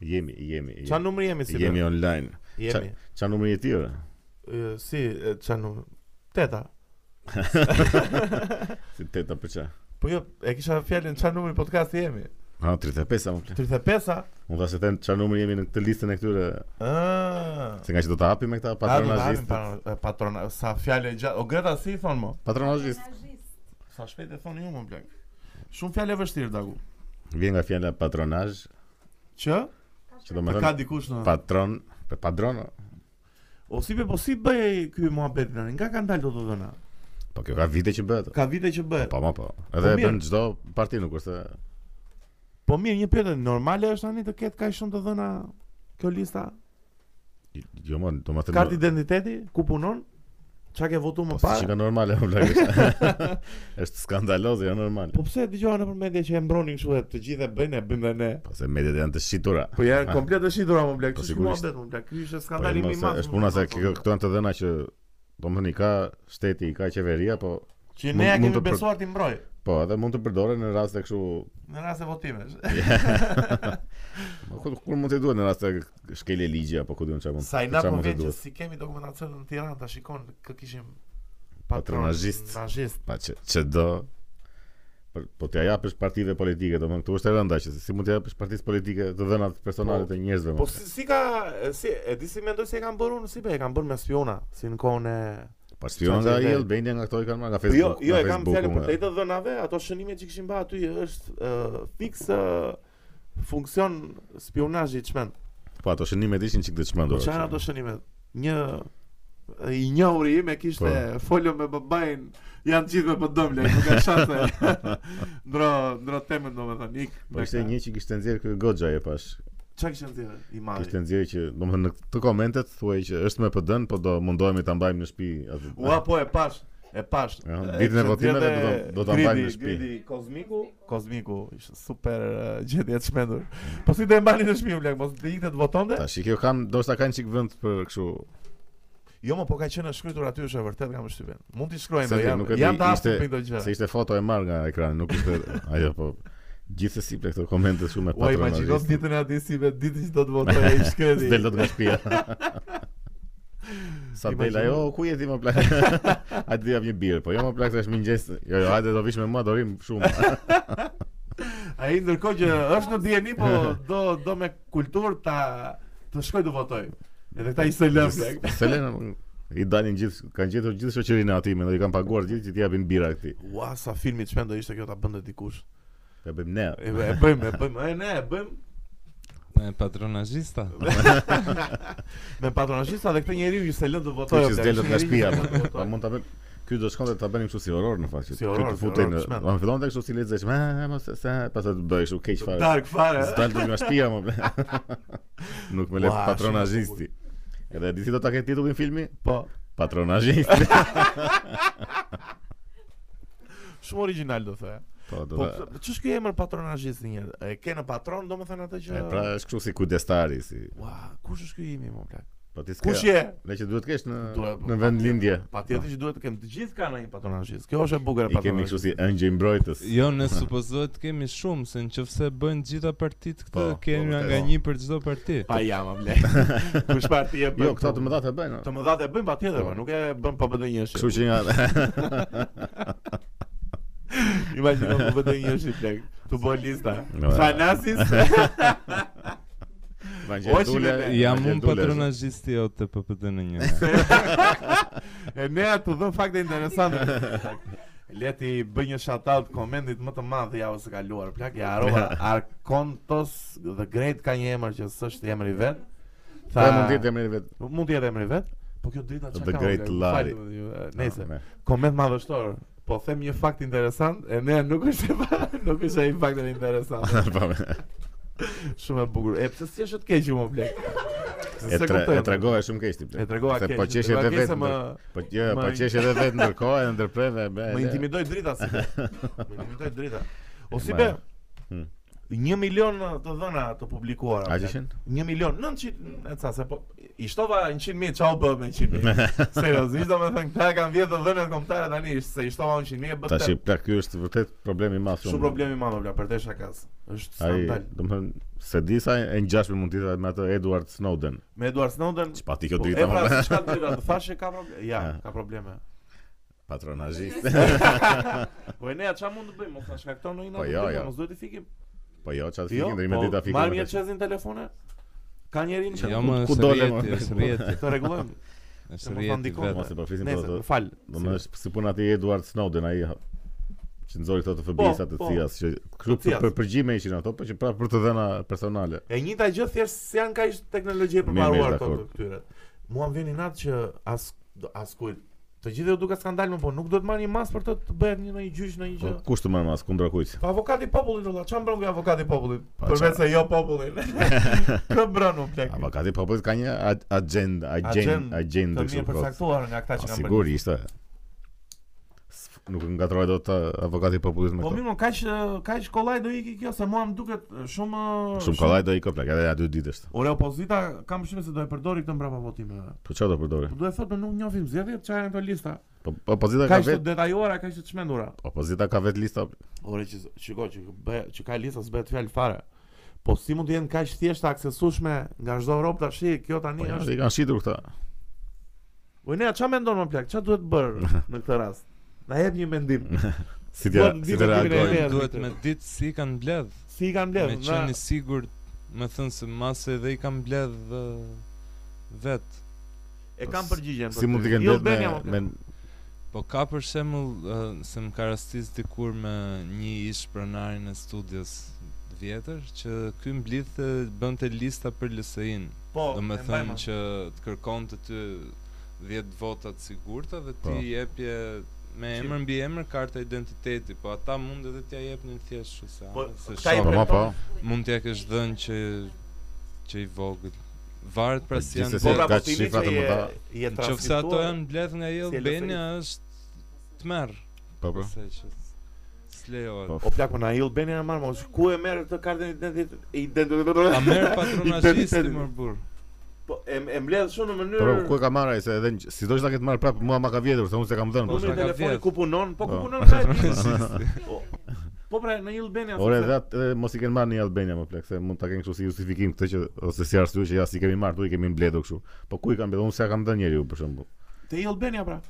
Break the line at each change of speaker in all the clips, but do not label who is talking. jemi, jemi. jemi.
Çfarë numri jemi si? be?
Jemi online.
Jemi.
Ç'a numri je ti? ore?
E, Si e, çfarë numri? Teta.
Si teta për ç'a?
Po jo, e kisha fjalën çfarë numri podcasti jemi?
Ha 35 sa më flet.
35-a?
Unë tha se them ç'a numri jemi në këtë listën e këtyre
Ah.
se nga që do ta hapim me këta patronazhist.
Patrona, sa fjalë gjatë. O Greta si i thon mo?
Patronazhist
Sa shpejt e thoni ju më blek. Shumë fjalë e vështirë dagu.
vjen nga fjala patronazh,
Që?
që do të
Të ka
thonë
dikush në
patron, për padron.
O si be, po si bëj ky muhabet tani? Nga ka ndalë do dhëna?
Po kjo ka vite që bëhet.
Ka vite që bëhet.
Po po po. Edhe e
Po, mirë.
bën çdo parti nuk është se
Po mirë, një pyetje normale është tani të ketë kaq shumë të dhëna kjo lista?
jo më, do të
Kartë identiteti, ku punon? Çka ke votuar më
Po si që
parë?
ka normale më plakë është. është skandaloze, jo normal.
Po pse dëgjova nëpër media që e mbronin kështu e të gjithë e bëjnë e bëjmë dhe ne.
Po se mediat janë të shitura.
Po janë
Ah.
komplet të shitura më blek,
Po,
ç'është
sigurisht.
muhabet më blek. Ky ishte
Po
skandali më i
se
madh.
është puna se kjo- këto janë të dhëna që domethënë i ka shteti, i ka qeveria, po
që
mund-
ne ja
mund
kemi
të për-
besuar ti mbroj
po edhe mund të përdoren në raste kështu
në rast e votimesh.
Po, kur, kur mund të duhet në raste shkelje ligji apo ku diun çfarë mund.
Sa i na
çfarë
po
mund të
vjen që
duhet.
si kemi dokumentacion në Tiranë ta shikon kë kishim
Patronazhist.
Patronazhist.
Pa që, që do Për, po t'ja japësh partive politike, domethënë këtu është e rënda që si mund t'ja japësh partisë politike të dhënat personale
Po,
të njerëzve.
Po
Po,
si, si ka si e di si mendoj se e kanë bërë unë si be e kanë bërë me spiona, si në kohën e
po spion nga ai
çfarë që-
Albania nga këto i kanë marrë nga
Po Jo,
Facebook.
jo
nga
e kam
Facebooku,
fjalë për
nga-
të të dhënave, ato shënime që kishin bërë aty është uh, fiks ë, funksion spionazhi çmend.
Po ato shënimet ishin çik të
Po
çmendur.
çfarë ato shënime? Një i njohuri im e kishte
Po.
folur me babain, janë gjithë me pëdëmle, nuk ka shanse. ndro ndro temën domethënë. ik,
Po ishte
beka.
një që kishte nxjerr ky Goxha e pash.
Çka kishin thënë i madhi?
Kishte nxjerr që, domethënë në këto komentet thuaj që është me PD-n, po do mundohemi ta mbajmë në shtëpi atë.
Ua po e pash, e pash.
Ja,
E,
ditën e
që
votimeve
zgjedhe
do ta- do ta
Gridi-
mbajmë në shtëpi.
Gridi Kozmiku, Kozmiku ishte super e, gjetje e çmendur. Po si do e mbani në shtëpi blek, mos të ikte të votonte?
Tash i kjo kanë, ndoshta kanë çik vend për kështu.
Jo, më po ka qenë e shkruar aty është e vërtet kam shtypën. Mund t'i shkruajmë,
Se
do,
di,
jam
nuk e di,
jam të
ishte-
hapur për këtë
Se
gjë.
ishte foto e marrë nga ekrani, nuk ishte ajo po. Gjithsesi për këto komente shumë e
Ua imagjino
patronazhiste.
ditën e atij si vetë ditën që do të votojë i shkreti.
Del dot nga shtëpia. Sa del
Imagjino.
ajo, ku je ti më plak? A ti jap një birë, po jo më plak tash mëngjes. Jo, jo, hajde do vish me mua, do rim shumë.
Ai ndërkohë që është në dieni, po do do me kulturë ta të shkoj të votoj. Edhe këta i se lëm blek.
Selena i dalin gjithë, kanë gjetur gjithë shoqërinë aty, mendoj i kanë paguar gjithë që t'i japin bira këtij.
Ua, sa filmi çmend do ishte kjo ta bënte dikush.
Ja bëjmë ne.
E, e bëjmë, e bëjmë, e ne e bëjmë
E patronazhista.
me patronazhista dhe këtë njeriu ju se lën të
Kjo
votojë.
që
bla,
s'delët nga
këtë
shtëpia.
njeriu ju s'e lën
Po
të votojë.
mund ta bëjmë Ky do shkonte ta bënim kështu si horror në fakt. që
Si
ky
horror,
të
si
futej
horror,
në,
çmend.
do të fillonte kështu si lezetshme, "Ah, mos sa pastaj të bëj kështu keq fare.
Dark fare.
S'dal të nga shtëpia më. ble. Nuk më le
Ua, shumë e
patronazhisti. Edhe di si do ta ketë titullin filmi?
Po,
Patronazhisti.
shumë origjinal do thoya.
Po do
Po
ta.
ç'është ky emër patronazhist një herë? E ke në patron domethënë atë
E
që
pra është kështu si kujdestari si.
Ua, kush është ky imi më plak?
Po ti s'ke.
Kush je?
Ne që duhet të kesh në
Duhet, po,
në vend lindje.
Patjetër që duhet të kem të gjithë kanë një patronazhist. Kjo është e bukur e
Po. I kemi kështu
patronazhist.
si ëngjëj mbrojtës.
Jo, ne supozohet kemi shumë, se nëse bëjnë gjitha partitë këtë,
Po, po,
kemi
vërtet.
nga një për çdo parti.
Pa jam më blek. Kush parti e bën?
Jo, këta të mëdha të bëjnë.
Të mëdha e bëjnë patjetër, po nuk e bën pa BD një
Kështu që nga
Imagjino po vetë një është i plek. Tu bë lista.
No,
Fanasis.
Vangjendule.
Oqin e ne.
Jam unë
Vangjendule.
patronazhisti jot të PPD në një.
e nea tu dhën fakte interesante. Leti bëj një shoutout komentit më të madh javën së kaluar. Plak ja harova Arkontos the Great ka një emër që s'është emri vet.
Po mund të jetë emri vet.
mund të jetë emri vet, po kjo drita çka
The
ka.
Great
plak, më
Lari.
falni, ju, e, Nëse.
Me.
Koment madhështor. Po them një fakt interesant, e ne nuk është nuk është ai fakt interesant.
Po, me.
Shumë e bukur. E pse si është të keq ju më blek?
E tre, e tregove shumë keq ti. ble.
E tregova
Se
keq.
Po
e
qesh
tregova
edhe
keq se
vetë.
Më
ndër- Po jo, po
më-
qesh edhe vetë ndërkohë e ndërpreve. be,
më
le.
intimidoi drita si. be. Më intimidoi drita. O
E,
si
ma-
be.
Hmm.
1 milion të dhëna të publikuara.
A që
plak.
ishin?
1 milion 900 e ca se po i shtova 100 mijë çau bë me 100 mijë. Seriozisht domethënë këta kanë vjedhë dhënat kombëtare tani ishte se i shtova 100 mijë bë.
Tash plak ky është vërtet problem i madh.
Po Shumë problem i madh bla për të shakas. Është
Ai,
skandal.
domethënë se di sa e ngjashme mund të jetë me atë Edward Snowden.
Me Edward Snowden
Çpati kjo
po,
drita.
E pra,
mo.
s'ka drita, të thashë ka probleme. Ja,
Ja.
ka probleme.
Patronazhist.
Po e nea çfarë mund të bëjmë? Mos na shkakton në
Po,
një
jo, jo.
mos duhet të fikim.
Po jo, çfarë
Jo,
fikim deri me
po,
dita fikim.
Marrim një çezin telefone. Ka njërin që
Jo më
ku
së
dole,
rjeti,
mo?
është rjeti,
të rregullojmë.
është
Se më thonë
rjeti
dikon,
Mos
vetë.
e po flisim për
Nëse,
ato.
fal.
Domethënë është si puna te Edward Snowden ai ha, që nxori këto të
Po,
FBI-sa të
po.
CIA-s që këtu
CIA-s.
për përgjime ishin ato, po që prapë për të dhëna personale.
E njëjta gjë thjesht se janë kaq teknologji e
Mirë, mirë,
përparuar këto
dakord.
këtyre. Mua më vjen i natë që as askujt të gjithë ju duket skandal, më po nuk do të marrë një mas për të të bëhet një ndonjë gjyq ndonjë
Po
gjë.
kush të marr mas kundra kujt?
Po avokati i popullit valla, çan bron nga avokati i popullit?
Pa,
Përveç se jo popullin. Kë bron u plek.
Avokati popullit ka një ag- agenda,
Agend-
agenda, agenda
Të
kështu
mirë
po.
përcaktuar nga
Po,
këta që kanë bërë.
Sigurisht. e. S- Nuk ngatroj dot të avokati popullit me
Po
to.
mirë, mo, kaq kaq kollaj do iki kjo se mua më duket po, shumë
Shumë kollaj do i koplak, edhe aty ditësh.
Ore opozita kam përshtypjen se do e përdori këtë mbrapa votimeve.
Po çfarë do përdore?
Po duhet thotë nuk njohim zgjedhjet çfarë janë këto lista.
Po po opozita ka
Kaq të
vet,
detajuara, kaq të çmendura.
opozita ka vet lista. po,
Ore që shiko që bëj që ka lista s'bëhet fjalë fare. Po si mund të jenë kaq thjesht aksesueshme nga çdo Europë tash, kjo
Po
tani
ja,
është.
i kanë shitur këta.
Po ne çfarë mendon më plak? Çfarë duhet bër në këtë rast? Na jep një mendim.
Si t'ja,
Duhet
si
ndimë
të reagojnë.
ndimin e Lea. Merë,
Duhet
Viktor.
me ditë si i kanë bledh,
Si i kanë
me
bledh?
qenë i sigurt, me thënë se masë edhe i kanë bledh ë, vetë.
e kam përgjigjen. Jo,
Si mund të kenë bërë me me
Po ka për shembull ë, se më ka rastis dikur me një ish pronarin e studios vjetër që ky mblidhte bënte lista për LSI-n.
po,
Do me
e mbaj
thënë
mend.
që të kërkon të ty 10 votat sigurta dhe ti
Po.
i jepje me
Qi-
emër mbi emër karta identiteti, po ata mund edhe t'ja jepnin thjesht kështu se
Po,
a, se
këta
Po
i
shoh,
ma po.
mund t'ja kesh dhënë që që i vogël. Varet pra
Po,
si janë
gjithsesi,
Po
Se
pra
votat.
ka
po ti
shifra të
që je-
mëdha.
je
Nëse ato
transkriptuar.
janë bledh nga jo
si e
Albania është tmerr.
Po po.
Se që s-
Po,
s'lejohet.
O plak, po na i Albania e marr, mos ku e merr të kartën identitet identitet.
A merr patronazhisti
Identiteti.
më burr.
Po e, e mbledh shumë në
Po
mënyrë
po, ku e ka marrë ai se edhe si do të ketë marrë prapë mua ma ka vjedhur, se unë se kam dhënë.
Po,
po,
numri
s'na
i
ka
telefonit
vjedh.
ku punon, po ku
Po.
punon pra. Po, po pra në Albania.
Ore
sepse-
edhe atë edhe mos i kanë marrë në Albania më plak, se mund ta kenë kështu si justifikim këtë që ose si arsye që ja si kemi marrë, tu i kemi mbledhur kështu. Po ku i kanë mbledhur? Unë s'e kam dhënë njeriu për shembull.
te i Albania pra.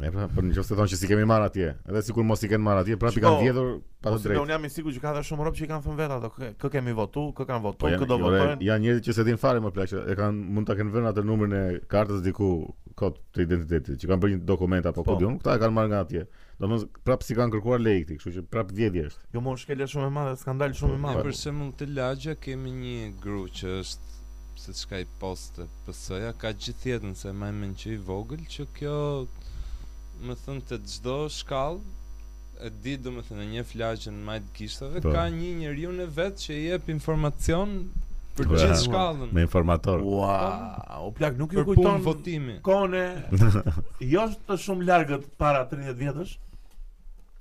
Ne pra, por nëse thonë që si kemi marrë atje, edhe sikur mos i kanë marrë atje, prapë i kanë
Shiko,
vjedhur pa
Po
të
se
drejtë.
unë jam i sigurt që ka edhe shumë rob që i kanë thënë vetë ato, kë kë kemi votu, kë kanë votu,
Po
kë do
janë, ore,
votojnë.
janë njerëz që se din fare më plak, që e kanë mund ta kenë vënë atë numrin e kartës diku kod të identitetit, që kanë bërë një dokument apo
Po.
ku diun, këta e kanë marrë nga atje. Domethënë prap si kanë kërkuar lejë këtë, kështu që prap vjedhje është.
Jo më shkele shumë e madhe, skandal
Po,
shumë i
Ne
madh.
për shembull të lagja kemi një gru që është se çka i poste PS-ja ka gjithë jetën se më mend që i vogël që kjo më thën të çdo shkallë e di do më thënë një flagjën majt gishtave
Po.
ka një njeriu në vetë që i jep informacion për
Po,
gjithë
ja.
shkallën
Me informator.
Ua, o plak nuk ju
për punë
kujton
votimi
kone jo është të shumë largët para 30 vjetësh.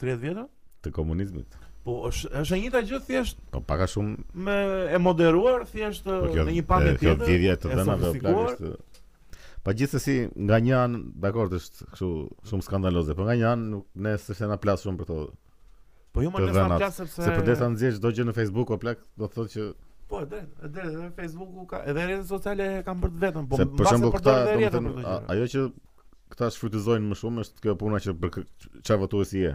30 vjetë?
të komunizmit.
Po është është e njëjta gjë thjesht
Po pak a shumë,
me e moderuar thjesht
po
në
kjo
një
e,
pamje
kjo
tjetër.
vjedhje të
e
dhënave
sofistikuar.
plak është. Pa Po, gjithsesi nga një anë, dakor, është kështu shumë skandaloze, po nga një anë nuk ne s'është se na plas shumë për to.
Po jo më
të
ne sa
dhënat,
flas sepse
Se përdesa nxjesh çdo gjë në Facebook o plak, do të thotë që
Po, e drejt, e drejt, edhe Facebooku ka, edhe rrjetet sociale e kanë për të vetën, po
se për shembull këta,
domethënë
domethënë a- ajo që këta shfrytëzojnë më shumë është kjo puna që për kë- çfarë votuesi je.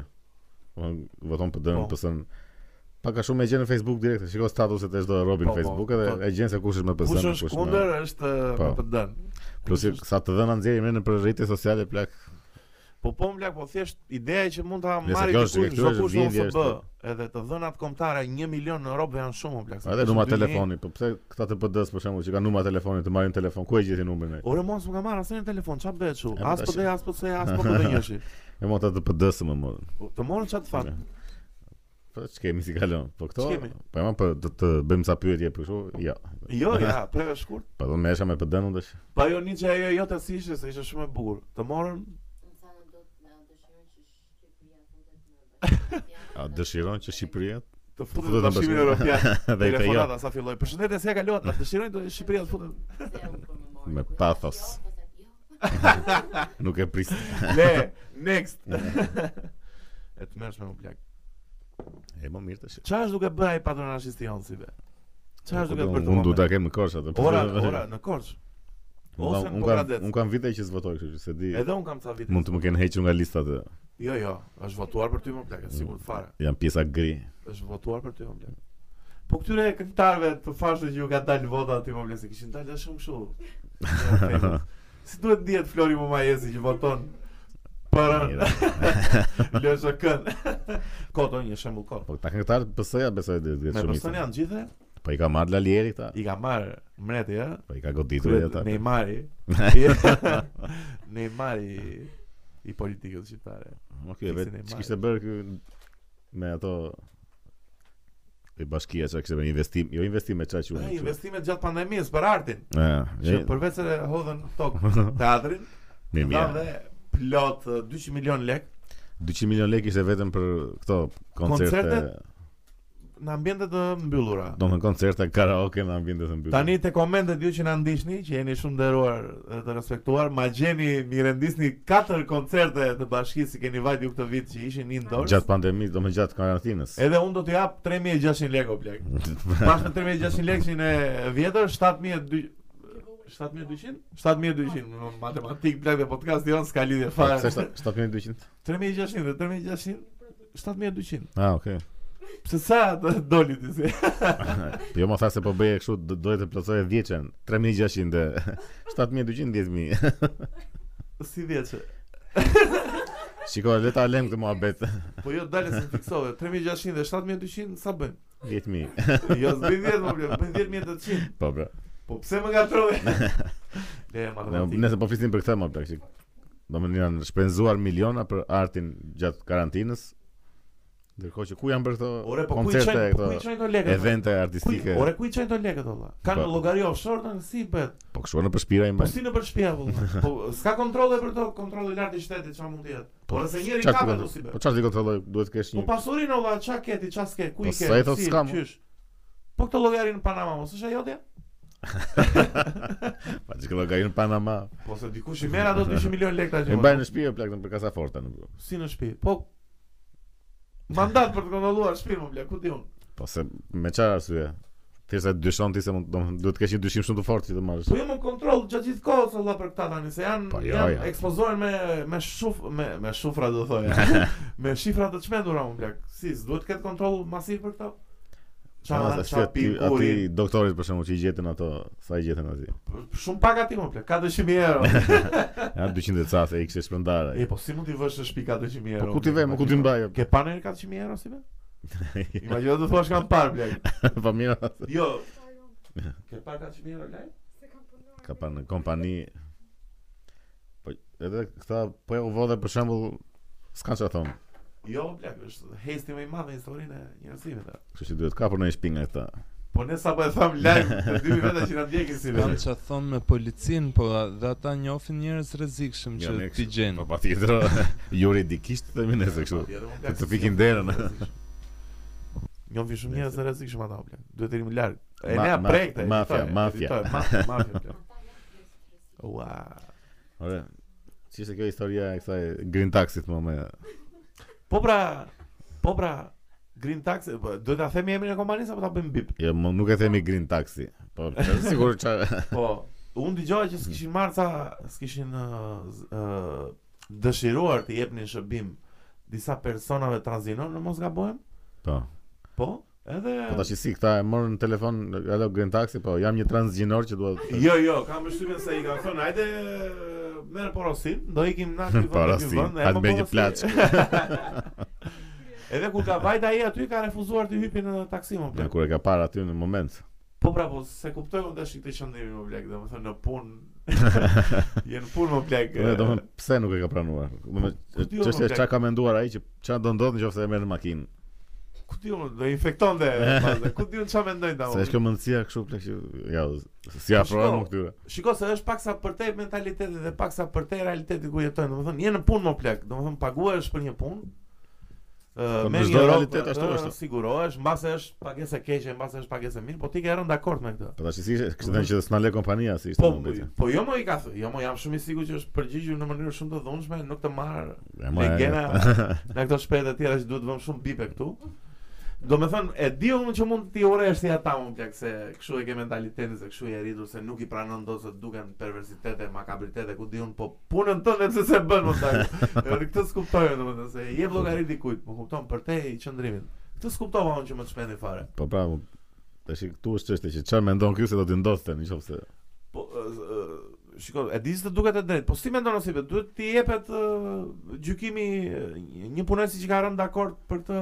Domethënë voton për dënë
Po.
PSN. Pak a shumë e gjen në Facebook direkt, shikoj statuset e çdo robi
Po,
në
po,
Facebook edhe
po.
e gjen se kush është me PSN,
Kush
kush
është
me-
kundër është e,
Po.
me të dënë.
Plus
Kush është-
sa të dhëna nxjerrim ne në për rrjetet sociale plak.
Po po mblaq, po thjesht ideja që mund ta
Nëse
marrë
kjo
dikush
është- kjo
çdo
është
kush në
vjedhje,
OSB, edhe të dhënat kombëtare 1 milion në Europë janë shumë mblaq.
Edhe numra telefoni, po pse këta të PD-s për shembull që kanë numra telefoni të marrin telefon, ku e gjeti numrin ai?
Ore mos më ka marrë asnjë telefon, ç'a bëhet çu?
E, po
As
tash-
po dhe as po se as po po dhe njëshi.
E mota të PD-s më morën.
Po, Të morën ç'a të fat.
Po ç'kemi si kalon. Po këto,
Ç'kemi?
po ema po do të bëjmë sa pyetje për kështu, jo.
Jo, ja, preve shkurt.
Po do mesha me PD-n tash.
Po ajo niçe ajo jote si ishte, se ishte shumë e bukur. Të morën
A dëshiron që Shqipëria
të futet në
Futet në
Bashkimin
Bashkimin.
Evropian.
Dhe i të jo.
Telefonata sa filloi. Përshëndetje, se e kaluat? Na dëshirojnë të Shqipëria të futet.
Me pathos. Nuk e pris.
Le, next. e të mërshme më plak.
E më mirë tash.
Qa është duke bërë ai patronazhisti Jonë si be? Qa është duke bërë të
Unë du ta
moment?
kem në Korçë atë.
Ora, ora, në Korç.
Unë
ose
kam- unë
në
kam
Pogradec.
unë kam vite që zvotoj, kështu që se di.
Edhe un kam ca vite.
Mund të më kenë hequr nga listat. e,
Jo, jo, është votuar për ty më
Mm.
plak, e sigurt fare.
Jam pjesa gri.
Është votuar për ty më plak. Po këtyre këngëtarëve të fashë që ju ka dalë vota aty më plak, se kishin dalë shumë kështu. Ja, famous. Si duhet ndihet Flori Momajesi që voton për
Mira.
LSK-n? Koto një shembull kot.
Po ta kanë këtar PS-ja besoj dhe dhe
Me
shumë.
person
ishte.
janë gjithë,
Po i ka marrë Lalieri këta.
i ka marrë mreti, ë?
Po i ka goditur edhe
Kryet
ata.
Neymari. Neymari i politikës shqiptare.
Ma ky e vet
Fiksin
që
e marrë.
kishte bërë ky me ato e bashkia çka kishte bërë investim, jo investim me çaj
Ai
unë.
investimet gjatë pandemisë për artin, Ah, që
Ëh,
përveç se hodhën tokë teatrin,
mirë
dhan
mirë.
dhe plot eh, 200 milion lek
200 milion lekë ishte vetëm për këto koncerte,
Koncertet? në ambiente të mbyllura.
domethënë koncerte karaoke në ambiente të mbyllur.
Tani te komentet ju që na ndiqni, që jeni shumë nderuar dhe të respektuar, ma gjeni, mi rendisni 4 koncerte të bashkisë që keni vajt ju këtë vit që ishin indoors.
gjatë pandemisë, domethënë gjatë karantinës.
Edhe unë do t'ju jap 3600 lekë o plek. Pas me 3600 lekë që në vjetër 7200 7200? 7200, në matematik plak dhe podcast jon s'ka lidhje fare.
Pse 7200?
3600 dhe 3600 7200.
Ah, okay.
Pse sa të doli ti si?
Po jo më tha se po bëje kështu, do doje të plotësoje 10-ën, 3600 dhe 7200 10000.
Si vjeçë?
Shiko, le ta lëm këtë muhabet.
Po jo dalë se fiksove 3600 dhe 7200 sa bën?
10000.
Jo s'bën 10 më plak, bën 10800.
Po bra.
Po pse më gatrove? Le
Ne,
matematik.
nëse po flisim për këtë më plak. shik. Do më janë shpenzuar miliona për artin gjatë karantinës. Ndërkohë që ku janë bërë këto
Ore po ku i
koncerte,
çojnë po ku i
këto
çojnë këto lekë?
evente
Ku i-
artistike.
Ore ku i çojnë to lekët olla? Kanë
Po.
llogari offshore tani si bëhet?
Po kështu në përshpira i
Po
mbajnë.
si në për shtëpi apo? Po s'ka kontrolle për to, kontrolle lart i shtetit çfarë mund të jetë. Po nëse njëri
Çfarë
ka
ti
ato
kontrolloj?
si
Po
bëhet.
çfarë ti kontrolloj? Duhet të kesh
Po
një.
pasurinë olla, ç'a ke ti, ç'a s'ke, ku
Po
i ke?
sa e thotë
si,
s'ka, mo.
qysh? Po këto llogari në Panama mos është ajo dia?
Pa çka do gajin në Panama.
Po se dikush i merr ato 200 milion lekë
E
tash.
mbajnë në shtëpi e plakën për kasaforta në.
Si në shtëpi. Po mandat për të kontrolluar shtëpinë, më bla, ku di unë.
Po se me çfarë arsye? Thjesht ai dyshon ti se mund do duhet të kesh një dyshim shumë të fortë që të marrësh.
Po jo më kontroll gjatë gjithë kohës olla për këta tani, se janë
Po jo,
janë
jo.
ekspozohen me me shuf me me shufra do thoya. me shifra të çmendura më bla. Si, s'duhet të ketë kontroll masiv për këto?
Mas,
Çfarë
ashtu
çfarë
aty- aty
pikuri?
doktorit për shembull që i gjetën ato, sa i gjetën aty.
Shumë pak aty më plak, 400.000 euro.
Ja 200 e ca se i kishte shpërndarë. ai.
e po si mund t'i vësh në shtëpi 400.000
Po
euro?
ku ti vë,
më
ku ti mbaj?
Ke pa ndonjë 400.000 euro si be? Imagjino të thuash kam parë plak.
Po mira,
Jo. Ke pa 400.000 euro laj?
ka pa në kompani. Po edhe këta po e uvodhe për shembull s'kan çfarë thon.
Jo plak, është hesti më i madh në historinë e njerëzimit. a.
Kështu që duhet kapur në një shpinga këta.
Po ne sapo e tham live, të dy veta që na ndjekin si be.
Kanë që thonë me policin, po a- dhe ata njofin njerëz rrezikshëm
Ja, ne
që ti
kështu.
gjenë.
Po patjetër Jo juridikisht themi nesër kështu.
Të
të fikin derën.
Njom vi shumë njerëz të rrezikshëm ata bla. Duhet të jemi larg. E
Ma-
ne
ma-
prekte.
mafia, mafia.
mafia bla. Ua.
Ore. Si ishte kjo historia e kësaj green taxit më më
Po pra, po pra, Green Tax, po, do ta themi emrin e kompanisë apo ta bëjmë bip?
Jo, më nuk e themi green taxi. Po sigurisht çfarë
Po, unë dëgjova që s'kishin marrë ca, s'kishin uh, z- uh, dëshiruar të jepnin shërbim disa personave tranzinor, në mos gabohem?
Po.
Po, edhe
Po tash si këta e morën në telefon, alo Green Taxi, po jam një transgjinor që duhet
Jo, jo, kam përshtypjen se i kanë thënë, hajde merr porosin, do ikim na ky vend, ky
Porosin,
vend, e
hajde
më
me një
porosin. Edhe kur ka vajt ai aty ka refuzuar të hypi në taksi më
Ja,
plak.
kur e ka parë aty në moment.
Po pra, po se kuptoj unë dashi këtë qëndrimi më plak, domethënë në punë. Je në punë më plak.
Dhe do pse nuk e ka pranuar. Do më
Ku ti jo,
çështja
më
çka ka menduar ai që çfarë do ndodhë nëse e merr në makinë.
Ku ti unë do infekton dhe pastaj, ku ti Ah, unë çfarë mendojnë ta.
Se është kjo mendësia kështu plak që ja si afrohen
shiko.
më këtyre.
Shiko se është paksa përtej mentalitetit dhe paksa përtej realitetit ku jetojnë. Domethënë je në punë më plak, domethënë paguhesh për një punë. ë,
Po,
me
në
një
çdo
Europë
realitet ashtu
ë,
është.
sigurohesh, mbase është pagesë e keqe, mbase është pagesë e mirë, po ti ke rënë dakord me këtë.
Po tash si ishte, kishte thënë që s'na le kompania si ishte
Po,
më bëti.
po jo më i ka thënë, jo më jam shumë i sigurt që është përgjigjur në mënyrë shumë të dhunshme, nuk të marr
E ma e-
legena në këto shpejt e tjera që duhet të vëmë shumë bipe këtu. Do me thënë, e di unë që mund t'i uresh si ata unë plak se këshu e ke mentalitetin, se këshu e rritur, se nuk i pranon do se duken perversitete, makabritete, ku di unë, po punën tënde pse se bën më taj. Edhe këtë s'kuptojnë, do me thënë, se jep llogarit dikujt, më kupton, për te i qëndrimin. Këtë s'kuptova unë që më të shpendi fare.
Po pra, mu- tash i- këtu është çështja që çfarë mendon ky se do të ndodhte nëse
Po, ë, ë, shiko, e di se duket e drejtë, po si mendon ose duhet t'i jepet ë, gjykimi ë, një- një punësi që ka rënë dakord për të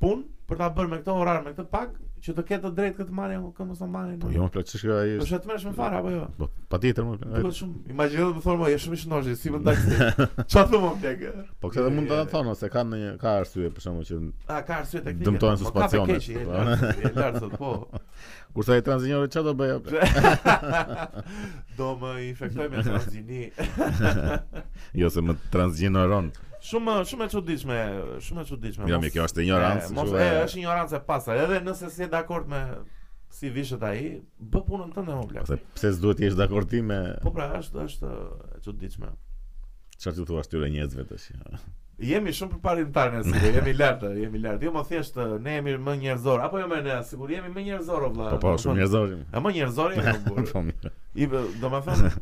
punë, për ta bërë me këtë orar, me këtë pag, që të ketë të drejtë këtë marrje apo këtë mos ta marrje.
Po jo më plot ç'është kjo ai
Është
është.
vetëm më fare apo jo?
Po patjetër më plak, ai-
Duket shumë. Imagjino të më thonë, "Mo, je shumë i shëndosh, si më taksi." Çfarë thon më plak?
Po këtë edhe mund ta thonë ose kanë ndonjë ka arsye për shkakun që
A ka arsye teknike.
Dëmtojnë
Po, ka
suspensionet.
keqi, e lartë, e lartë sot, po.
kurse ai tranzinjori çfarë do bëj? jo, o, plak?
Do më infektoj me transgjini.
Jo se më transgjinoron.
Shumë shumë e çuditshme, shumë e çuditshme.
Jo
Mos-
më kjo është
E,
ignorancë.
Eh, Mos
kështu
e,
e-
është ignorancë e pastër. Edhe nëse si je dakord me si vishet ai, bë punën tënde më
Ose
plak.
pse s'duhet të jesh dakord ti me
Po pra, është është e çuditshme.
çfarë ti thua këtyre njerëzve tash?
Jemi shumë përparimtar ne sigur, jemi lart, jemi lart. Jo më thjesht ne jemi më njerëzor, apo jo më ne, sigur jemi më njerëzor o vlla.
Po po, shumë njerëzor. jemi.
E më njerëzor jemi më burë.
Po mirë.
I bë- do më thënë,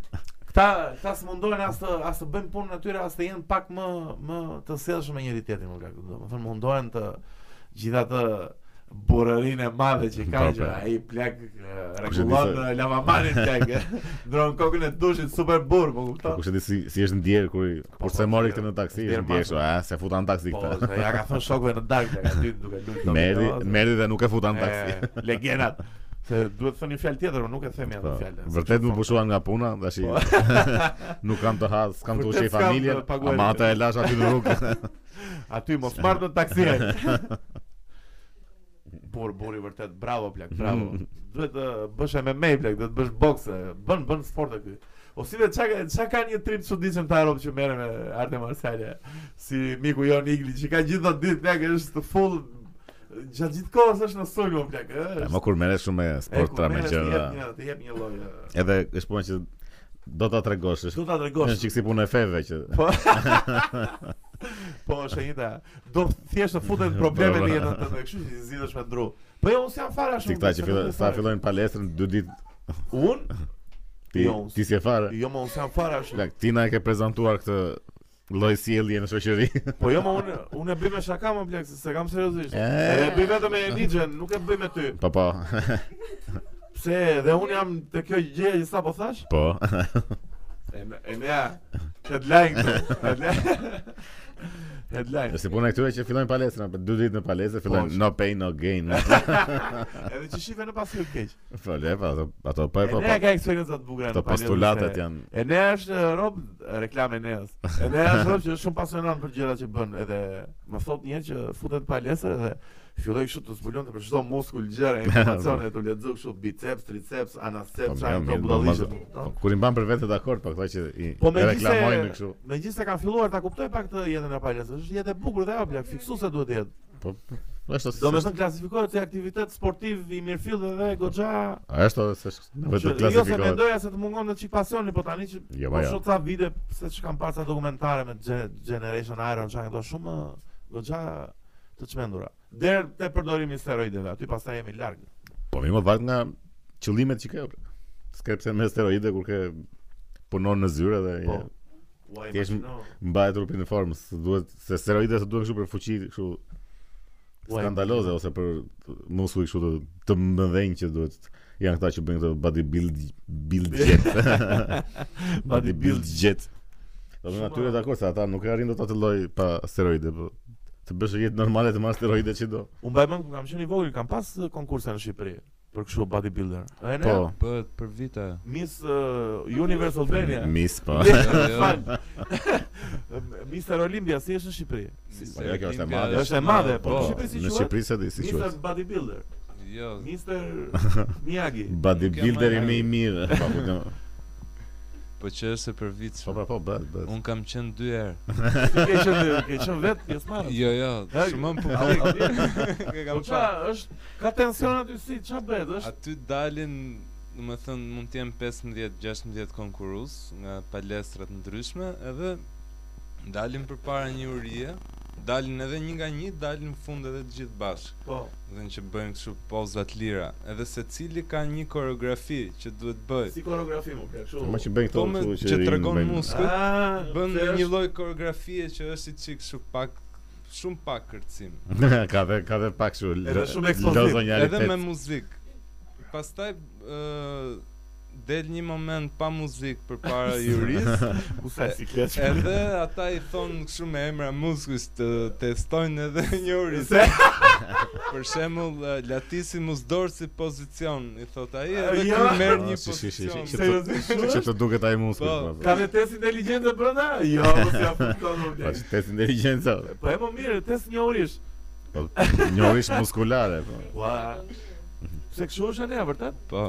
këta këta s'mundohen as të as të bëjnë punën e tyre, as të jenë pak më më të sjellshëm me njëri tjetrin më plak. Do më thënë mundohen të gjithatë burërinë e madhe që ka
Po, po.
që ai plak e,
di
rregullon
se-
e, lavamanin plak. Dron kokën e dushit super burr, po
Po
kupton.
kush e di si si është ndjer kur i- kur
po,
se mori
ndjer-
këtë në taksi,
ndjer
është ndjer kështu,
masën.
a se futan në taksi
Po,
këtë.
se ja ka thënë shokëve në darkë, ja ka dy duke po, lutë.
Merdi, merdi dhe nuk e futan në taksi.
Legendat. Se duhet thënë një fjalë tjetër, unë nuk e themi atë
Po,
fjalë.
Vërtet më pushuan nga puna, tash i-
Po.
nuk kam të hadh, s'kam të
Vërtet
ushej
s'kam
familjen,
të paguaj.
ama ata e lash aty në rrugë.
Aty mos marr në taksi. Por buri vërtet bravo plak, bravo. Duhet të bësh MMA plak, duhet të bësh bokse, bën bën sport aty. O si vetë çka çka ka një trip çuditshëm të Europë që merren me arte marciale. Si miku jon Igli që ka gjithë ditë plak është full gjatë gjithë kohës është në sulm plak, ë.
E,
është-
Më kur merresh shumë me
e,
sport
kur
tra me
merresh, të jep
gjëra.
një- Të jep një lloj. ë.
Edhe është puna që do ta tregosh, është
Do ta
është
tregosh.
çiksi punë e feve që
Po. po, është e njëjta. Do thjesht të futet probleme në jetën tënde, kështu që zgjidhesh me dru. Po jo, unë s'jam
ti
fare ashtu.
këta që
se
fillojnë
nuk e
sa
fare.
fillojnë palestrën dy ditë
Unë?
ti
Jo, unë
ti si e fare.
Jo, më unë s'jam fare ashtu.
Plak, ti na e ke prezantuar këtë lloj sjellje në shoqëri.
Po jo, më unë unë e bëj me shaka më plak, se se kam seriozisht.
E.
E bëj vetëm me Enigën, nuk e bëj me ty.
Po po.
Pse dhe unë jam te kjo gjë që sapo thash?
Po.
E me- e mea. Headline. këtu, headline. Headline.
Si puna e këtyre që fillojnë palestrën, për dy ditë në palestër
Po,
fillojnë no pain no gain.
Edhe që shive në pasur keq.
Po le, pa, ato ato po
E
e po.
ne ka eksperienca të bukura.
Ato
në palestra,
postulatat
se-
janë
E ne është rob reklamë neas. E ne është rob që është shumë pasionant për gjërat që bën, edhe më thot një herë që futet në palestër dhe filloi kështu të zbulonte për çdo muskul gjëra, informacione të lexoj kështu biceps, triceps,
Po,
anaceps,
mirë,
çfarë
mirë,
budallishe.
normal, po, Kur i mban për vete dakord, po këta që i
Po
e
me
reklamojnë kështu.
gjithse, me gjithse kam filluar ta kuptoj pak të jetën e palestës, është jetë e bukur dhe apo fiksu se duhet të jetë.
Po është
Do me thënë klasifikohet si aktivitet sportiv i mirëfillë dhe goxha
A është atë se sh- në vetë
Që- Jo se
klasifikohet.
mendoja se të mungon të çik pasioni, po tani që
Jo,
po
ma jo.
shoh ca vide se ç'kam parë ca dokumentare me Gen- Generation Iron, çka këto shumë ë, goxha të çmendura. Deri te përdorimi i steroideve, aty pastaj jemi larg.
Po më vjen nga qëllimet që ke. o, bre. S'ke pse me steroide kur ke punon në zyra dhe
Po.
je
Uaj,
Ti jesh-
imagjino.
mbahet trupi në formë, se duhet se steroidet se duhen kështu për fuqi kështu
Ua,
skandaloze ose për muskuj kështu të, të mëdhenj që duhet janë këta që bëjnë këtë bodybuild build jet.
Bodybuild.
jet. Do të
Shumë-
natyre dakord se ata nuk e arrin dot atë lloj pa steroide, po të bësh jetë normale të marrë steroide që do.
Unë mbaj mend kur kam qenë i vogël, kam pas ë, konkurse në Shqipëri për kështu bodybuilder. E ne,
Po.
Bëhet për vite.
Miss ë, Universe Albania.
Mis po.
Jo, jo.
Fal. Mister Olimpia si është në Shqipëri? Si-
Po, jo, kjo është e
Olimpia
madhe.
Është e madhe, po
Po,
në Shqipëri si
në
quhet?
Shqipëri se di si
Mister
quhet.
Bodybuilder.
Jo.
Mister Miyagi.
Bodybuilderi
Nuk e
më i
marr.
mirë. Po, po,
po që është e
Po
përvitshme.
pra po bëhet, bëhet.
Un kam qenë dy herë.
Ti ke qenë ke qenë vetë pjesëmarrës.
Jo, jo,
Ha,
shumë më
a,
publik.
a,
e
Po qa,
kam qenë.
është ka tension aty si, ç'a bëhet? Është
Aty dalin, do të thënë mund të jenë 15-16 konkurrues nga palestrat ndryshme, edhe dalin përpara një urie, dalin edhe një nga një, dalin në fund edhe të gjithë bashkë.
po.
Do të thënë që bëjnë kështu pozat lira, edhe secili ka një koreografi që duhet bëj.
Si koreografi më plak,
Ma që
kështu.
bëjnë këto
Po me
këtu
Po. që
rinë,
tregon
bëjnë-
muskë.
Ah,
Bën
se
një
është-
lloj koreografie që është i çik kështu pak shumë pak kërcim.
ka dhe ka dhe pak kështu.
Edhe
lo-
shumë ekspozit.
lozonjalitet.
Edhe me muzikë. Pastaj ë del një moment pa muzikë përpara juris,
U sa si keq.
edhe ata i thon kështu me emra muskujt të testojnë edhe një uris.
Se-
Për shembull ë, Latisi Musdor si pozicion, i thot ai,
A,
edhe
jo.
ky merr
Ah,
një
si, si, si, si, si,
pozicion.
Seriozisht kështu
Që
është?
të duket ai muskut.
Po,
Po,
Ka dhe test inteligjente brenda? Jo, mos ja kupton unë.
Po
plak.
që test inteligjenca.
Po e më mirë, test një orish.
Po njohurish muskulare po.
Ua. Se kështu është anë vërtet?
Po.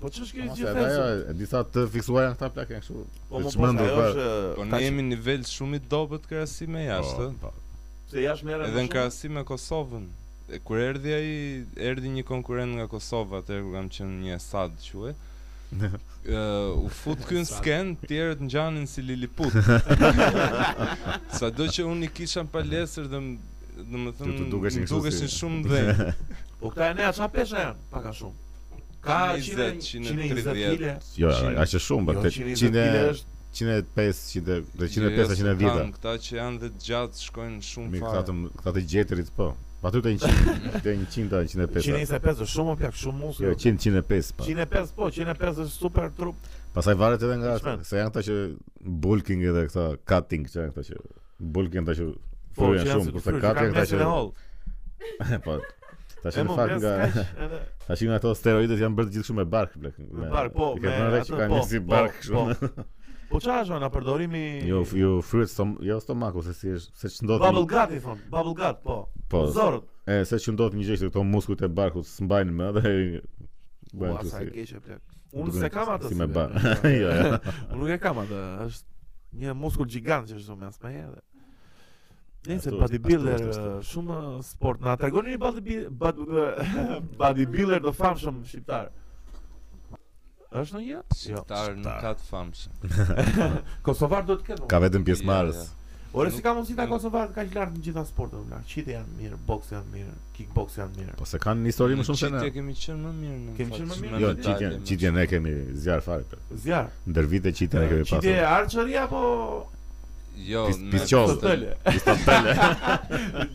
Po ç'është kjo
Mos e
gjithë
dhe ajo,
testi?
e disa të fiksuara këta plak janë kështu. të
Po më po
çmendur,
ajo
po.
është
Po
ka
ne jemi në nivel shumë i dobët krahasim me jashtë.
Po, po.
që- se jashtë merren.
Edhe
më
në
shumë.
krahasim me Kosovën. E, Kur erdhi ai, erdhi një konkurrent nga Kosova, atëherë kur kam qenë një Sad quaj. Ë u fut ky në sken, tjerët ngjanin si liliput. Sado që unë i kisha në palestër dhe më- dhe më thënë,
Ju të dukeshin
më
kështu
dukeshin
si-
shumë dhe
Po këta e nea çfarë pesha janë? Pak a shumë. Ka
120,
100, 120 kile.
Jo, aq është shumë, po
Jo,
100
120 kile është
105, 100 dhe 105 110.
Këta që janë dhe gjatë shkojnë shumë
Mi këta
fare.
të këta të gjetërit po. Po aty të 100, të 100 ta 105.
125 është shumë o plak, shumë muskë.
Jo, 100 105 po.
105 po, 105 është super trup.
Pastaj varet edhe nga
Shpend.
se janë këta që bulking edhe këta cutting që janë këta që bulking këta që
Po,
fryen
që janë
shumë
si
kurse
fryr, që
cutting këta
kanë mesin e hollë.
që po. Tash
E
në
mo,
fakt tak.
mes
nga
kaq, edhe
tash nga ato steroidet janë bërë gjithë kështu me bark blek.
me No bark, po,
i ke thënë vetë që kanë një si bark no. kështu.
Po, po qa është ana përdorimi...
Jo, f- jo fryhet stom, jo stomaku se si është, se ç'ndodh.
Bubble gut i thonë, bubble gut, po.
Po.
Zorët.
E se ç'ndodh një gjë që këto muskujt e barkut s'mbajnë më dhe bëhen
Ua,
kështu
sa e
si.
keqe plak. Unë
Duken
se kam atë.
si me
si,
bark.
plak.
Jo, jo.
Unë nuk e kam atë, është një muskull gjigant që është mes me edhe. Nëse
Ashtu është,
bodybuilder
ashtu është,
eh, shumë sport na tregoni një bodybuilder body, bodybuilder të famshëm shqiptar. Është ndonjë? Jo.
Shqiptar nuk ka të famshëm.
Po, Kosovar do të ketë.
Ka
unë.
vetëm pjesëmarrës.
Jo, jo.
Ore
nuk-
si ka mundësi ta
nuk-
Kosovar kaq lart në gjitha sportet, vëlla. Qiti janë mirë, boksi janë mirë, kickboksi janë mirë.
Po se kanë një histori më shumë se
Në
ne.
qitje kemi qenë më mirë në
Kemi
fakt,
qenë më
që
mirë
me
në
Jo,
medalje,
qitjen,
më
qitjen ne kemi zjarr fare. për-
Zjarr.
Ndër vite qitjen e kemi
Qiti e
pasur.
archery apo
Jo,
Pis-
me-
pisqoz.
Stotele?
Pistopele.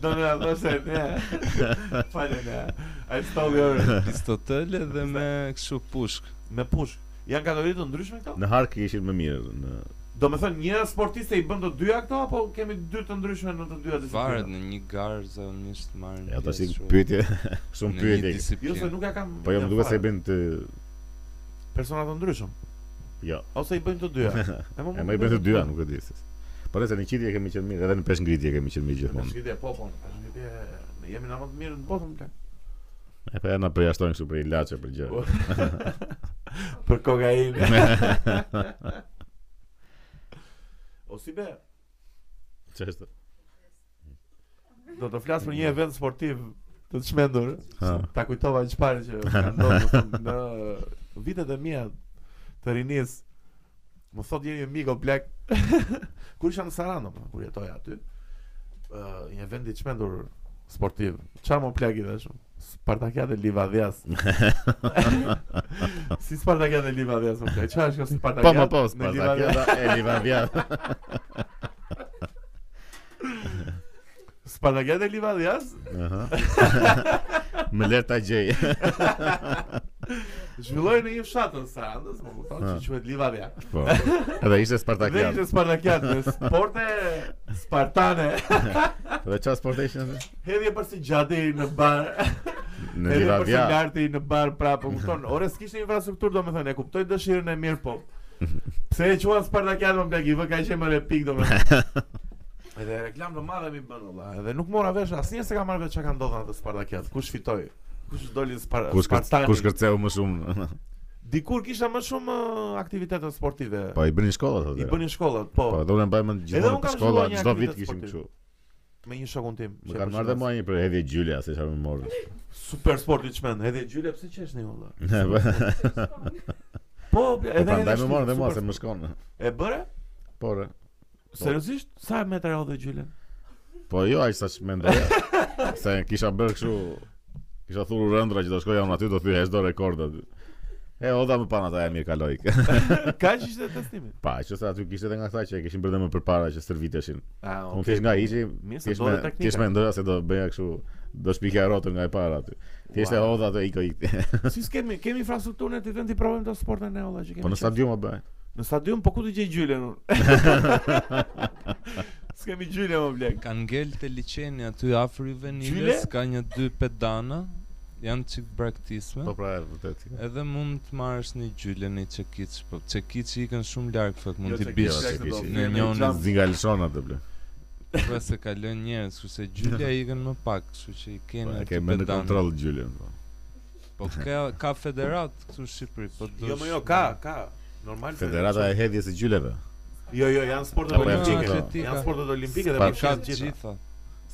Do në ato se ne. Falë ne. Ai stoli orë
Pistotele dhe me kështu pushk.
me pushk. Janë kategori të ndryshme këto?
Në hark ishin më mirë në
Do me thënë një sportiste i bën të dyja këto apo kemi dy të ndryshme në të dyja
Varet
disiplinat?
në një garë zakonisht marrin.
ja tash i
pjesë,
pyetje,
shumë,
shumë
në një
pyetje.
Jo se
disiplinë.
nuk ja kam.
Po jo më
jam
duket se i
fare.
bën të
persona të ndryshëm
jo,
ose i bëjnë të dyja. E
e më i bën të dyja, nuk e di se. Po nëse në qitje kemi qenë mirë, edhe në pesh ngritje kemi qenë mirë
Në
gjithmonë.
shkëtje po po. në shkëtje, Ne jemi na më të mirë në botën plak.
E po ja na përjashtojnë kështu për ilaçe për gjë.
Po. Për kokainë. o si be,
Ç'është?
do të flas për një event sportiv të të shmendur.
Ha.
Ta kujtova një çfarë që ka ndodhur më thënë, në vitet e mia të rinis. Më thot jeni një mik o blek. kur isha në Sarandë, po, kur jetoj aty. ë një vend i të shmendur sportiv. Çfarë më plak i dash? Spartakiade Livadias. si Spartakiade Livadias më plak. Çfarë është kjo
Po më po,
Spartakiade? Pra në Livadias?
Spartakiada e Livavia.
Spartakiade Livadias
Aha. Më lër ta gjej.
zhvilloi në një fshat të Sarandës, më kupton, që quhet Livadias.
Po. Edhe ishte
Dhe
Spartakiada.
ishte Spartakiad me sporte Spartane
Edhe çfarë sporte ishin? atë?
Hedhje për si gjati në bar
Në
Hedhje për si
Livavia.
larti në bar pra Po kupton, ore s'kishte infrastruktur do me thënë E kuptoj dëshirën e mirë po Pse e quan Spartakiad më plak i vë ka qenë më repik do me thënë Edhe reklam të madhe mi bën valla. Edhe nuk mora vesh asnjë se ka marrë vesh çka ka ndodhur atë Spartakiad. Kush fitoi? Kush doli Spar
Kush kër-
Spartani?
kush kërceu më shumë?
Dikur kisha më shumë ë, aktivitete sportive.
Po i bënin shkollat atë.
I bënin shkollat, po.
Po, do unë e mbaj mend
Edhe unë
gjithmonë për
kam
shkolla,
zhvilluar një
çdo vit
aktivitet
kishim
sportiv.
kështu.
Me një shokun tim.
Më
që e
kanë marrë dhe
përshëndes.
mua një për hedhje gjylja, se çfarë më morën.
Super sport liçmen, edhe Gjyle pse qeshni valla.
Po
Po, bla, edhe
prandaj më
shtu,
morën dhe mua
super
se më
sport.
shkon.
E bëre?
Po, re.
Seriozisht? Sa metra hodhe Gjyle?
Po jo aq sa mendoja. Se kisha bërë kështu kisha thurur rëndra që do shkoja unë aty do thyej çdo rekord aty. E oda më pan ata e mirë kaloi.
Kaq ishte testimi.
Pa, që sa aty kishte edhe nga këta që e kishin bërë dhe më përpara që stërviteshin.
Ah,
Unë thjesht nga ishi,
Mirë se
thjesht
do
me
dhe teknika.
thjesht mendoja se do bëja kështu do shpikja rrotën nga e para aty. Thjesht e
Wow.
hodha atë iko ikti.
Si kemi kemi infrastrukturën e të vend i provojmë të sportin ne valla që kemi.
Po në
qef.
stadium a bëj.
Në stadium po ku të gjej Gjylen unë? S'kemi Gjyle më blek.
Kanë ngel të liçeni aty afër
Gjyle?
Juvenilës, ka një dy pedana, janë çik braktisme.
Po pra, e vërtet.
Edhe mund të marrësh një gjyle në çekiç, po çekiçi i kanë shumë larg fakt, mund
Jo,
t'i
çekiç,
bish
çekiç, çekiç.
në njëon
Jam-
Zingalshon atë bler.
pra se kalon njerëz, kurse gjylja i kanë më pak, kështu që i
Po,
kanë
e
aty
ke me në
pedana.
kontroll gjylën. po.
Po ka ka federat këtu në Shqipëri, po do.
Jo, më jo, ka, ka. Normal. se-
Federata e hedhjes së gjyleve.
Jo, jo, janë sportet
Apo janë
olimpike.
atletika.
Janë sportet olimpike dhe po
Spa-
Pa
përfshin
ka
të
të
gjitha.
gjitha.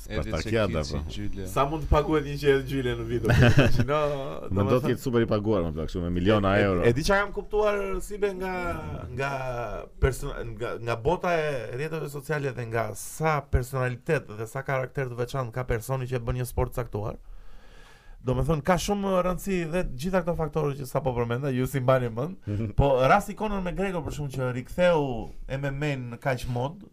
Edhe
Spartakiada,
çekiçi,
po.
gjylja.
Sa mund të paguhet një qelë gjyle në vit? Që no,
Më do të jetë super i paguar më plak kështu me miliona
E-
euro.
E di çka kam kuptuar Sibe nga nga person, nga nga bota e rrjeteve sociale dhe nga sa personalitet dhe sa karakter të veçantë ka personi që e bën një sport caktuar. Do me thënë, ka shumë rëndësi dhe të gjitha këto faktorë që sa po përmenda, ju si mbani mend, po rasti Conor McGregor për shumë që riktheu MMA-n në kaq mod,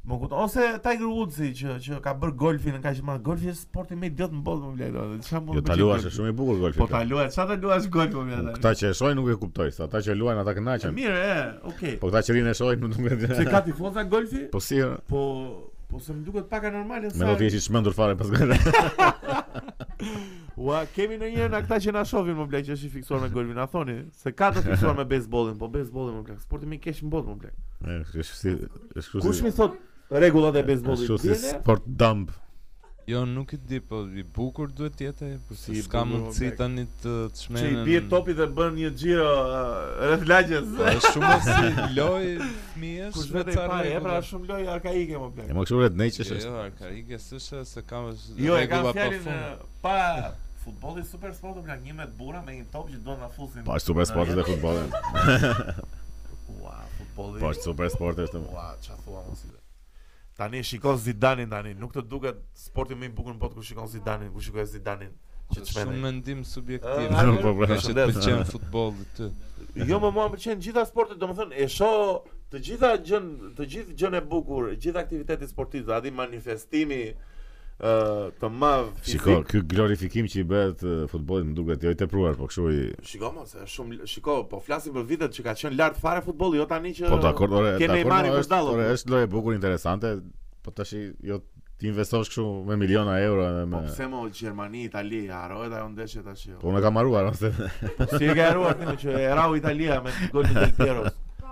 Më kupton ose Tiger Woodsi që që ka bër golfin në kaq më golfi është sporti më idiot në botë më vlej domethënë çfarë mund
Jo
të
ta
bëj
luash
golfi?
është shumë i bukur golfi.
Po
plak.
ta luash, çfarë ta luash golf më vlej.
Këta që e shohin nuk e kuptoj, sa ata që luajnë ata kënaqen.
Mirë, e, okay.
Po këta që rinë e shohin nuk e
Se ka tifoza golfi?
Po si e?
Po po se më duket pak
me
anormale
do
sa.
të jesh i çmendur fare pas gjëra.
Ua, kemi në njëherë na këta që na shohin më blej që është i fiksuar me golfin, a thoni se ka të fiksuar me bejsbollin, po bejsbolli më blej, sporti më i keq në botë më blej.
Është kështu si është kështu
Kush
Po, si.
më thot rregullat e
është
bejsbollit?
Kështu si
Djene?
sport dump.
Jo, nuk i di, po i bukur duhet të jetë, po
Si i
si s'ka
bukur, o
mundësi
blek.
tani të të
Që
shmenen.
i bie topi dhe bën një xhiro uh, rreth lagjes.
Po, është shumë si loj fëmijësh
Kush vetë i pari, e pra është shumë lojë arkaike më plak.
E më kështu vet neqesh
Jo,
është.
jo, arkarike s'është se kam
Jo, e kam
rregulla pa
po
fjalin
fund.
e, pa futbolli super sport më plak, një me të bura me një top që do na fusin.
Po është super sporti dhe futbolli.
Ua, futbolli.
Po është super sporti është.
Ua, çfarë thua mos i. Tani shikon Zidane tani, nuk të duket sporti më i bukur në botë kur shikon Zidane, kur shikoj Zidane. Që
Është Shumë
çmendë.
mendim subjektiv.
Ah,
Po po.
Ka
Përshëndes.
që të pëlqen futbolli ty.
Jo, më mua më pëlqen gjitha sportet, domethënë e shoh të gjitha gjën, të gjithë gjën e bukur, gjithë aktiviteti sportiv, aty manifestimi ë të madh fizik.
Shiko, ky glorifikim që i bëhet e, futbollit më duket jo i tepruar, po kështu i
Shiko mos, është shumë shiko, po flasim për vitet që ka qenë lart fare futbolli, jo tani që
Po dakord, ore,
Ke
dakord,
Neymari
no,
kur
është,
dallo.
ore, është lojë e bukur interesante, po tash i- jo ti investosh kështu me miliona euro edhe me
Po pse mo Gjermani, Itali, harohet ajo ndeshje tash. jo.
Po unë e kam harruar ose
Po si e ka haruar ti më që e rau Italia me golin e Del Piero.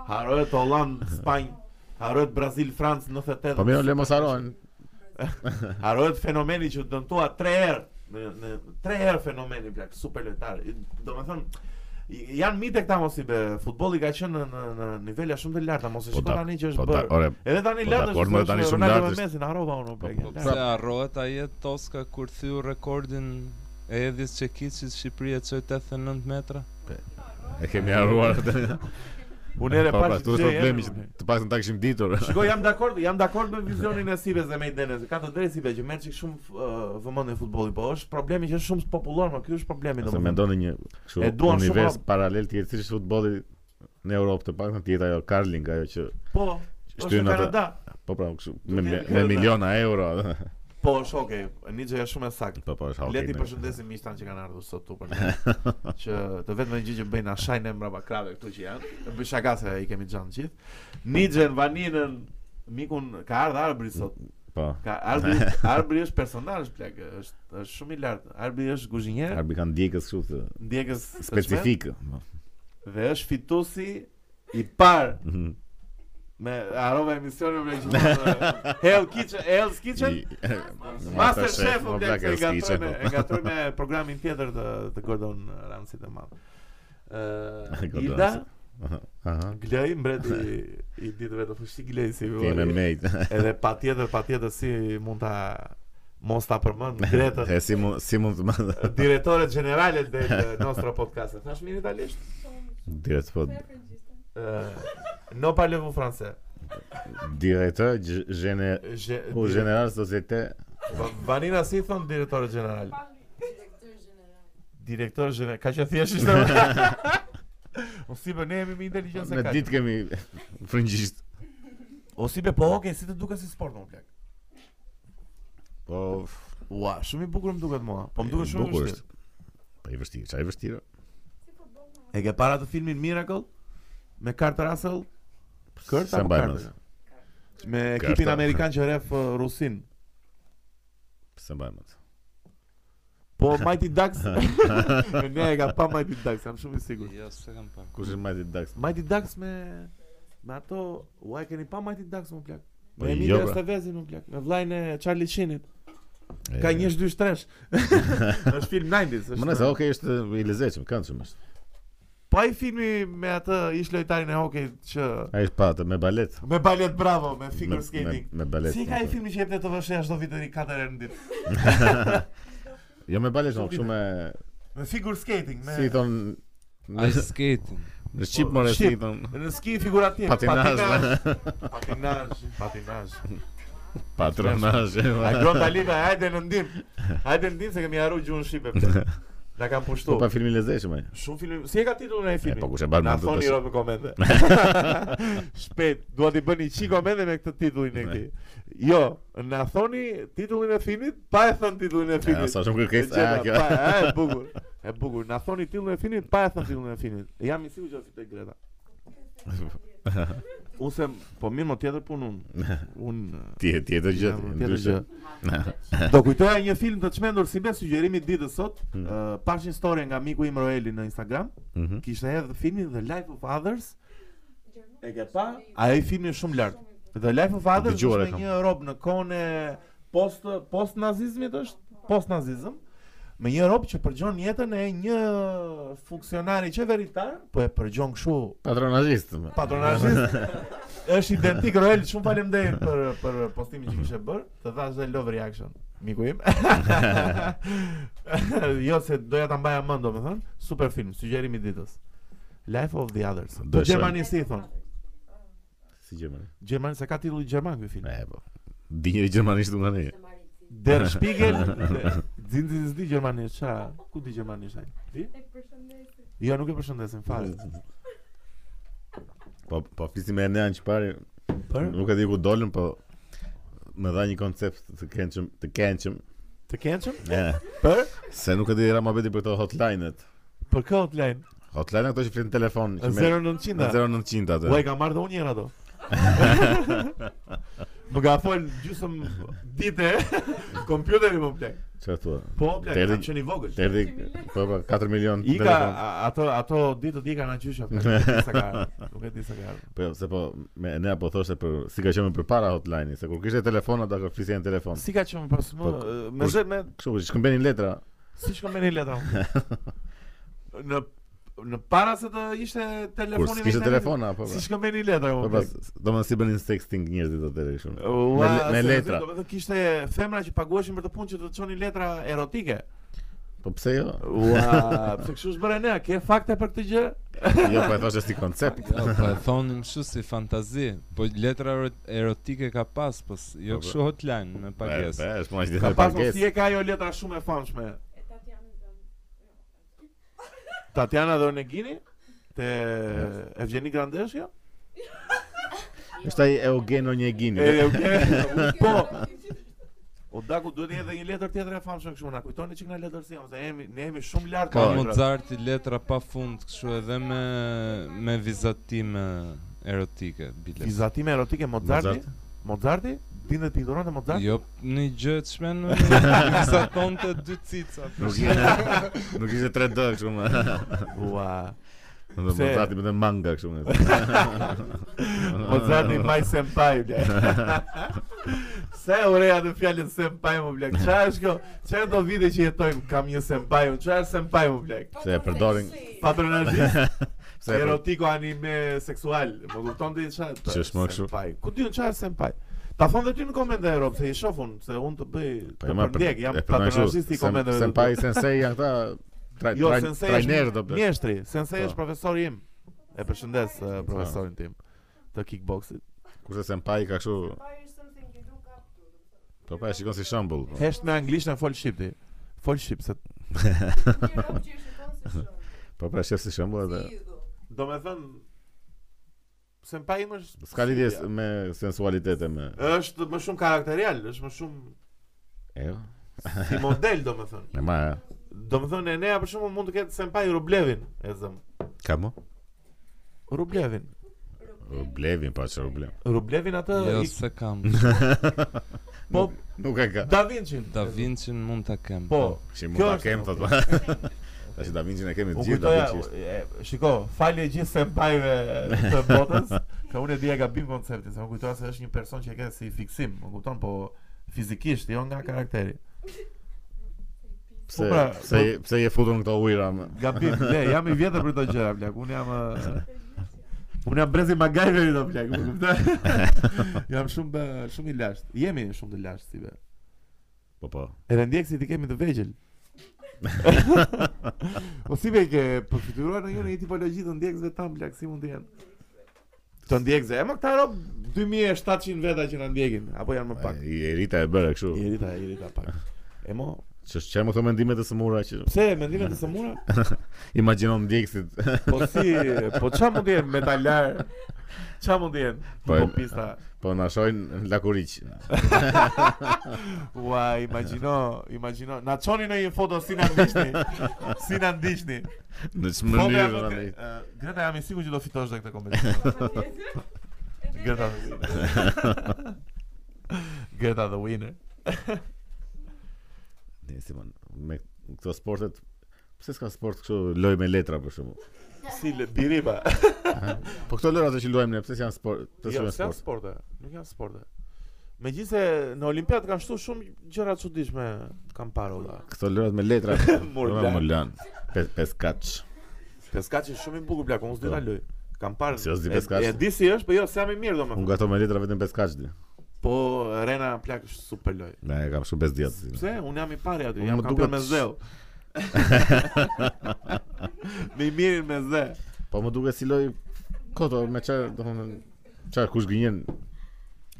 Harohet Holland, Spanjë, harohet Brazil, Francë 98.
Po mirë, le mos harrojnë.
Harohet fenomeni që dëmtua 3 herë në në 3 herë fenomeni plak super lojtar. Domethënë janë mite këta mos i be. Futbolli ka qenë në në, në nivela shumë të larta, mos e
Po
shikoj
da-
tani
Po
që është
ta,
bërë.
ore,
Edhe tani
po
lart
dakord,
është.
mo, tani shumë
Ronaldo
lart
me Messi, harrova unë
Po,
plak.
po,
janë
Po
lart.
pse harrohet ai Toska kur thiu rekordin e edhis Çekicit Shqipëria çoi 89 metra?
e kemi harruar atë.
Unë ere
Po pra,
pash
tu është problemi që të paktën ta kishim ditur.
Shikoj, jam dakord, jam dakord me vizionin e Sibes dhe me idenë. se Ka të drejtë Sibe që merr çik shumë uh, vëmendje futbolli, po është problemi që është shumë popullor, më ky është problemi
Se
domethënë.
mendoni një kështu
E duan shumë pra-
univers
hap.
paralel të jetësisht futbollit në Europë të paktën tjetë ajo Carling ajo që
Po, është
shtyn
në
atë-
Kanada.
po pra kështu me,
Dunia
me-
e
me
Kanada.
miliona euro.
Po, është okay. Nietzsche është shumë e saktë.
Po po, është
Le ti
hallë.
përshëndesim miqtan që kanë ardhur sot tu për ne. që të vetmën gjë që bëjnë ashajnë e mbrapa krave këtu që janë. E Bëj shaka se i kemi xhan gjithë. Nixhen, Vaninën, Mikun ka ardhur Arbri sot.
Po.
Ka Arbri, Arbri është personazh plak, është është shumë i lartë. Arbri është kuzhinier,
Arbi kanë djegës kështu të po.
ndjekës specifik
specifik.
dhe është fitusi i parë me harova emisionin me gjithë Hell Kitchen, Hell's Kitchen, Master Chef
po
o blek, se e gatrojnë, e gatrojnë me programin tjetër të, të Gordon Ramsit të madh. ë,
Godanë,
Ilda
se- Aha.
Glej, mbreti i ditëve të fushti Glej si
Kemi
vëllai.
mate.
Edhe patjetër, patjetër si mund ta mos ta përmend Gretën,
E si mund si mund të më
diretore generale del nostro podcast. E Thash mirë italisht?
direkt po
Ë, no parlevu francez.
direktor gj- gene
Gje-
u general societe
Va- Po, Vanina si thon diretore general? Direktor general. Ka që thjesht ishte. O si be ne jemi më inteligjent Jo, se
në
kaq.
ditë kemi frëngjisht.
O si be po, okay, si të duket si sport më plak.
Po
Ua, Ah, shumë i bukur më duket mua. Po më duket shumë i
bukur
vështirë.
është. Po i vështirë, çaj vështirë.
E ke para të filmin Miracle me Kurt Russell? Kurt
Se
apo
mbajmë
Kurt?
atë.
Me
Kurt,
ekipin
a.
amerikan që rref uh, rusin.
Se mbajmë atë.
Po Mighty Ducks. ne e ka pa Mighty Ducks, jam shumë i sigurt.
Jo, s'e kam parë.
Kush është Mighty Ducks?
Mighty Ducks me me ato, uaj keni pa Mighty Ducks më plak.
Po,
Me
jo,
Emilio
bra.
Estevezin më plak, me vllajën e Charlie Sheenit.
E,
Ka 1 2 3. Është film 90s,
Më nëse okay është i lezetshëm, këndshëm është.
Pa i filmi me atë ish lojtarin e hokejt që
Ai është pa atë me balet.
me balet bravo, me
Me,
figure skating.
me, me balet.
si ka i
po.
filmi që jep në të vëshë çdo vit deri 4 herë në ditë?
Jo me balet, nuk kështu me
Me figure skating, me
si i thon
Ai skating.
në shqip more si
shqip.
i thon
në ski figurativ,
patinazh,
patinazh, patinazh.
patronazh.
A gjon Dalive, hajde në ndim. Hajde në ndim se kemi harru gjuhën shqipe. ple. Na kanë
Po
pushtu.
pa film i lezetshëm ai.
Shumë filmi, si e ka titullin ai
E,
filmi?
Po kush e bën
Na
më
thoni
të
rrot në komente. Shpejt, dua t'i bëni çik komente me këtë titullin e këtij. Jo, na thoni titullin e filmit, pa e thënë titullin
Ja,
e filmit.
sa shumë kërkes.
E
A, kjo.
gjeta, pa, e, e bukur. E bukur. Na thoni titullin e filmit, pa e thënë titullin e filmit. Jam i sigurt që do fitoj Greta. Unë se, po mirë më tjetër punë unë. Unë
Tje- Tjetër gjë,
Jam, tjetër
ndryshe.
gjë.
Mhm.
Do kujtoja një film të çmendur si be sugjerimi i ditës sot,
Mm.
ë, pash një story nga miku im Roeli në Instagram,
Mhm.
kishte hedhë filmin The Life of Others. E ke pa? Ai filmi është shumë lart. The Life of Others
Dëgjuar e
është me
kam.
një rob në kohën e post post nazizmit është, post nazizëm. Me një rob që përgjon jetën e një funksionari qeveritar, po e përgjon kështu
Patronazhist.
patronazhist. është identik Roel, shumë faleminderit për për postimin që kishe bër. Të thash dhe love reaction, miku im. jo se doja ta mbaja mend, domethënë, super film, sugjerim i ditës. Life of the Others.
Do
Po
e shoh.
Gjermani si i thon.
Si Gjermani.
Gjermani se ka titull gjerman ky film.
E po. Di një gjermanisht nga ne.
Der Spiegel, zinzi di gjermanisht, ça? Ku di gjermanisht ai? Di? Jo, nuk e përshëndesim fare.
Po po flisim me Enean që pari,
Për
nuk e di ku dolën, po më dha një koncept të këndshëm, të këndshëm.
të kencëm?
E,
Për
se nuk e di ra mabeti për këto hotline-et.
për këtë hotline
Hotline-a këto që flitin telefon, që me
0900.
0900 atë.
Uaj, ka marrë dhe unë njëra ato. më ka fol gjysëm dite kompjuteri më plak.
Çfarë thua?
Po plak,
Deri-
kam qenë i vogël.
Të erdhi po po 4 milion
I ka
telefon.
a- ato ato ditët i kanë gjysha plak. Nuk e di sa ka. ardhur, Nuk e di sa ka. ardhur.
Po jo, se po me Enea po thoshte për si ka qenë përpara hotline-i, se kur kishte telefon ata kur flisjen telefon.
Si ka qenë pas më
Po,
me
kush-
zë me
Kështu që shkëmbenin letra.
si shkon me një letra. unë? Në në para se të ishte telefoni.
Kur s'kishte telefon apo.
Si shkon me një letra
Po
unë.
pas, domethënë si bënin sexting njerëzit atë kështu.
Ua,
me- me
se
letra.
Do të thotë kishte femra që paguheshin për të punë që do të çonin letra erotike.
Po pse jo?
Ua, pse kështu është bërë ne? Ke fakte për këtë gjë?
Jo, po e thashë si koncept.
Jo, po e thonin kështu si fantazi. Po letra ero- erotike ka pas, po s- jo
Po, po.
kështu hotline në
Po, e, po,
pagesë.
është më gjithë
Ka
e
pas mos
pagesë.
si e ka ajo letra shumë e famshme. Tatiana dhe Onegini te Evgeni Grandesh jo?
Është ai Eugeno Njegini.
E, okay. po. O Daku duhet edhe një letër tjetër e famshme kështu na kujtoni çik nga letër si jam, se jemi ne jemi shumë lart
Ka
Po,
Mozarti letra pa fund, kështu edhe me me vizatime erotike, bile.
Vizatime erotike Mozarti. Mozarti? Dindet pikturonte Mozarti?
Jo, në gjë të shmen vizatonte dy cica.
Nuk ishte nuk ishte 3D kështu më.
Ua.
Do të
Se-
thotë me manga kështu më.
Mozarti my senpai. bla. Pse e ureja në fjallin senpai më blek? Qa është kjo? Qa do vite që jetojmë kam një senpai unë? Qa është senpai më blek?
Se e përdorin-
Patronazhist,
Se e për-
erotiko, anime, seksual. Më kupton ti qa?
Që është më kështu?
Senpai. Ku ti unë qa është senpai? Ta thonë dhe ty në komente e robë, se i shofun, se unë të bëj,
po e
të
marr për-
përndjek, jam
e përdorin kështu,
patronazhist i
sen-
komenteve. të
Senpai,
tua.
sensei janë këta tra-
Jo,
tra-
sensei
trajnerë do
është
bëj.
mjeshtri, sensei
Po.
është profesori im. E përshëndes eh, profesorin tim të kickboxit.
Kurse senpai ka kështu Po pra e shikon si shembull. po.
Hesht me anglisht në fol shqip ti. Fol shqip se
Po pra e shef si shembull edhe
do me thënë senpai im është
s'ka lidhje s- me sensualitete me.
është më shumë karakterial, është më shumë jo.
E.
si model do me thënë.
Me ma. e.
Do me thënë Enea për shumë mund të ketë senpai Rublevin e zëm.
Ka mo?
Rublevin.
Blevin pa çfarë problem.
Rublevin atë
Jo,
i-
se kam.
po
Nuk e ka.
Da Vinci.
Da Vinci mund ta kem.
Po,
Si mund
Kjo
ta
është-
kem thotë. Tash Da Vinci ne kemi të
U
gjithë Da
kujtoja,
Vinci.
e, shiko, falje gjithë senpajve të botës, ka unë e dija gabim konceptin, se më kujtoja se është një person që e ke si fiksim, më kupton, po fizikisht, jo nga karakteri.
Pse
po pra,
pse pse je futur në këto ujëra më?
Gabim, le, jam i vjetër për këto gjëra, plak, unë jam... e, Unë jam brezi magajveri do plak, më kupton? jam shumë bë- shumë i lashtë. Jemi shumë të lashtë si be.
Po po.
Edhe ndjekësit i kemi të vegjël. o si be ke përfituar në një tipologji të ndjekësve tam plak si mund të jenë? Të ndjekësve, e më këta rob 2700 veta që na ndjekin, apo janë më pak?
I e rita e bëre kështu.
I rita, i rita pak. E mo,
Që çfarë më këto mendime të sëmura që
pse mendimet e sëmura?
imagjinon ndjekësit.
Po si, po çfarë mund të jenë metalar? Çfarë mund të jenë?
Po,
Po pista.
Po na shohin lakuriç.
Ua, imagjino, imagjino. Na çoni në një foto si na ndiqni. Si na ndiqni.
Në çfarë
Po me
mënyrë
atë,
tani?
eh, Greta jam i sigurt që do fitosh dhe këtë kompeticion. Greta the winner. Greta the winner.
Ne si mon, me këto sportet Pse s'ka sport kështu loj me letra për shembull?
Si le biriba.
Po këto lojra ato që luajmë ne, pse s'janë sport? Pse s'janë
s'janë
sport?
sporte, nuk janë sporte. Megjithëse në Olimpiad kanë shtu shumë gjëra çuditshme kanë parë olla.
Këto lojrat me letra.
Murlan.
Murlan. Pes peskaç.
Peskaçi është shumë i bukur plak, unë s'di ta loj. Kam parë.
Po. Si është di
e-
peskaç?
E di si është, po jo, s'jam i mirë
Unë
domethënë.
gato me letra vetëm peskaç di.
Po Rena plak është super loj.
Ne e kam shumë pes diat.
Pse? Unë jam i pari aty,
Unë
jam
më
kampion
duket-
me zeu. me i mirin me ze.
Po më duket si loj koto me çfarë domethënë çfarë kush gënjen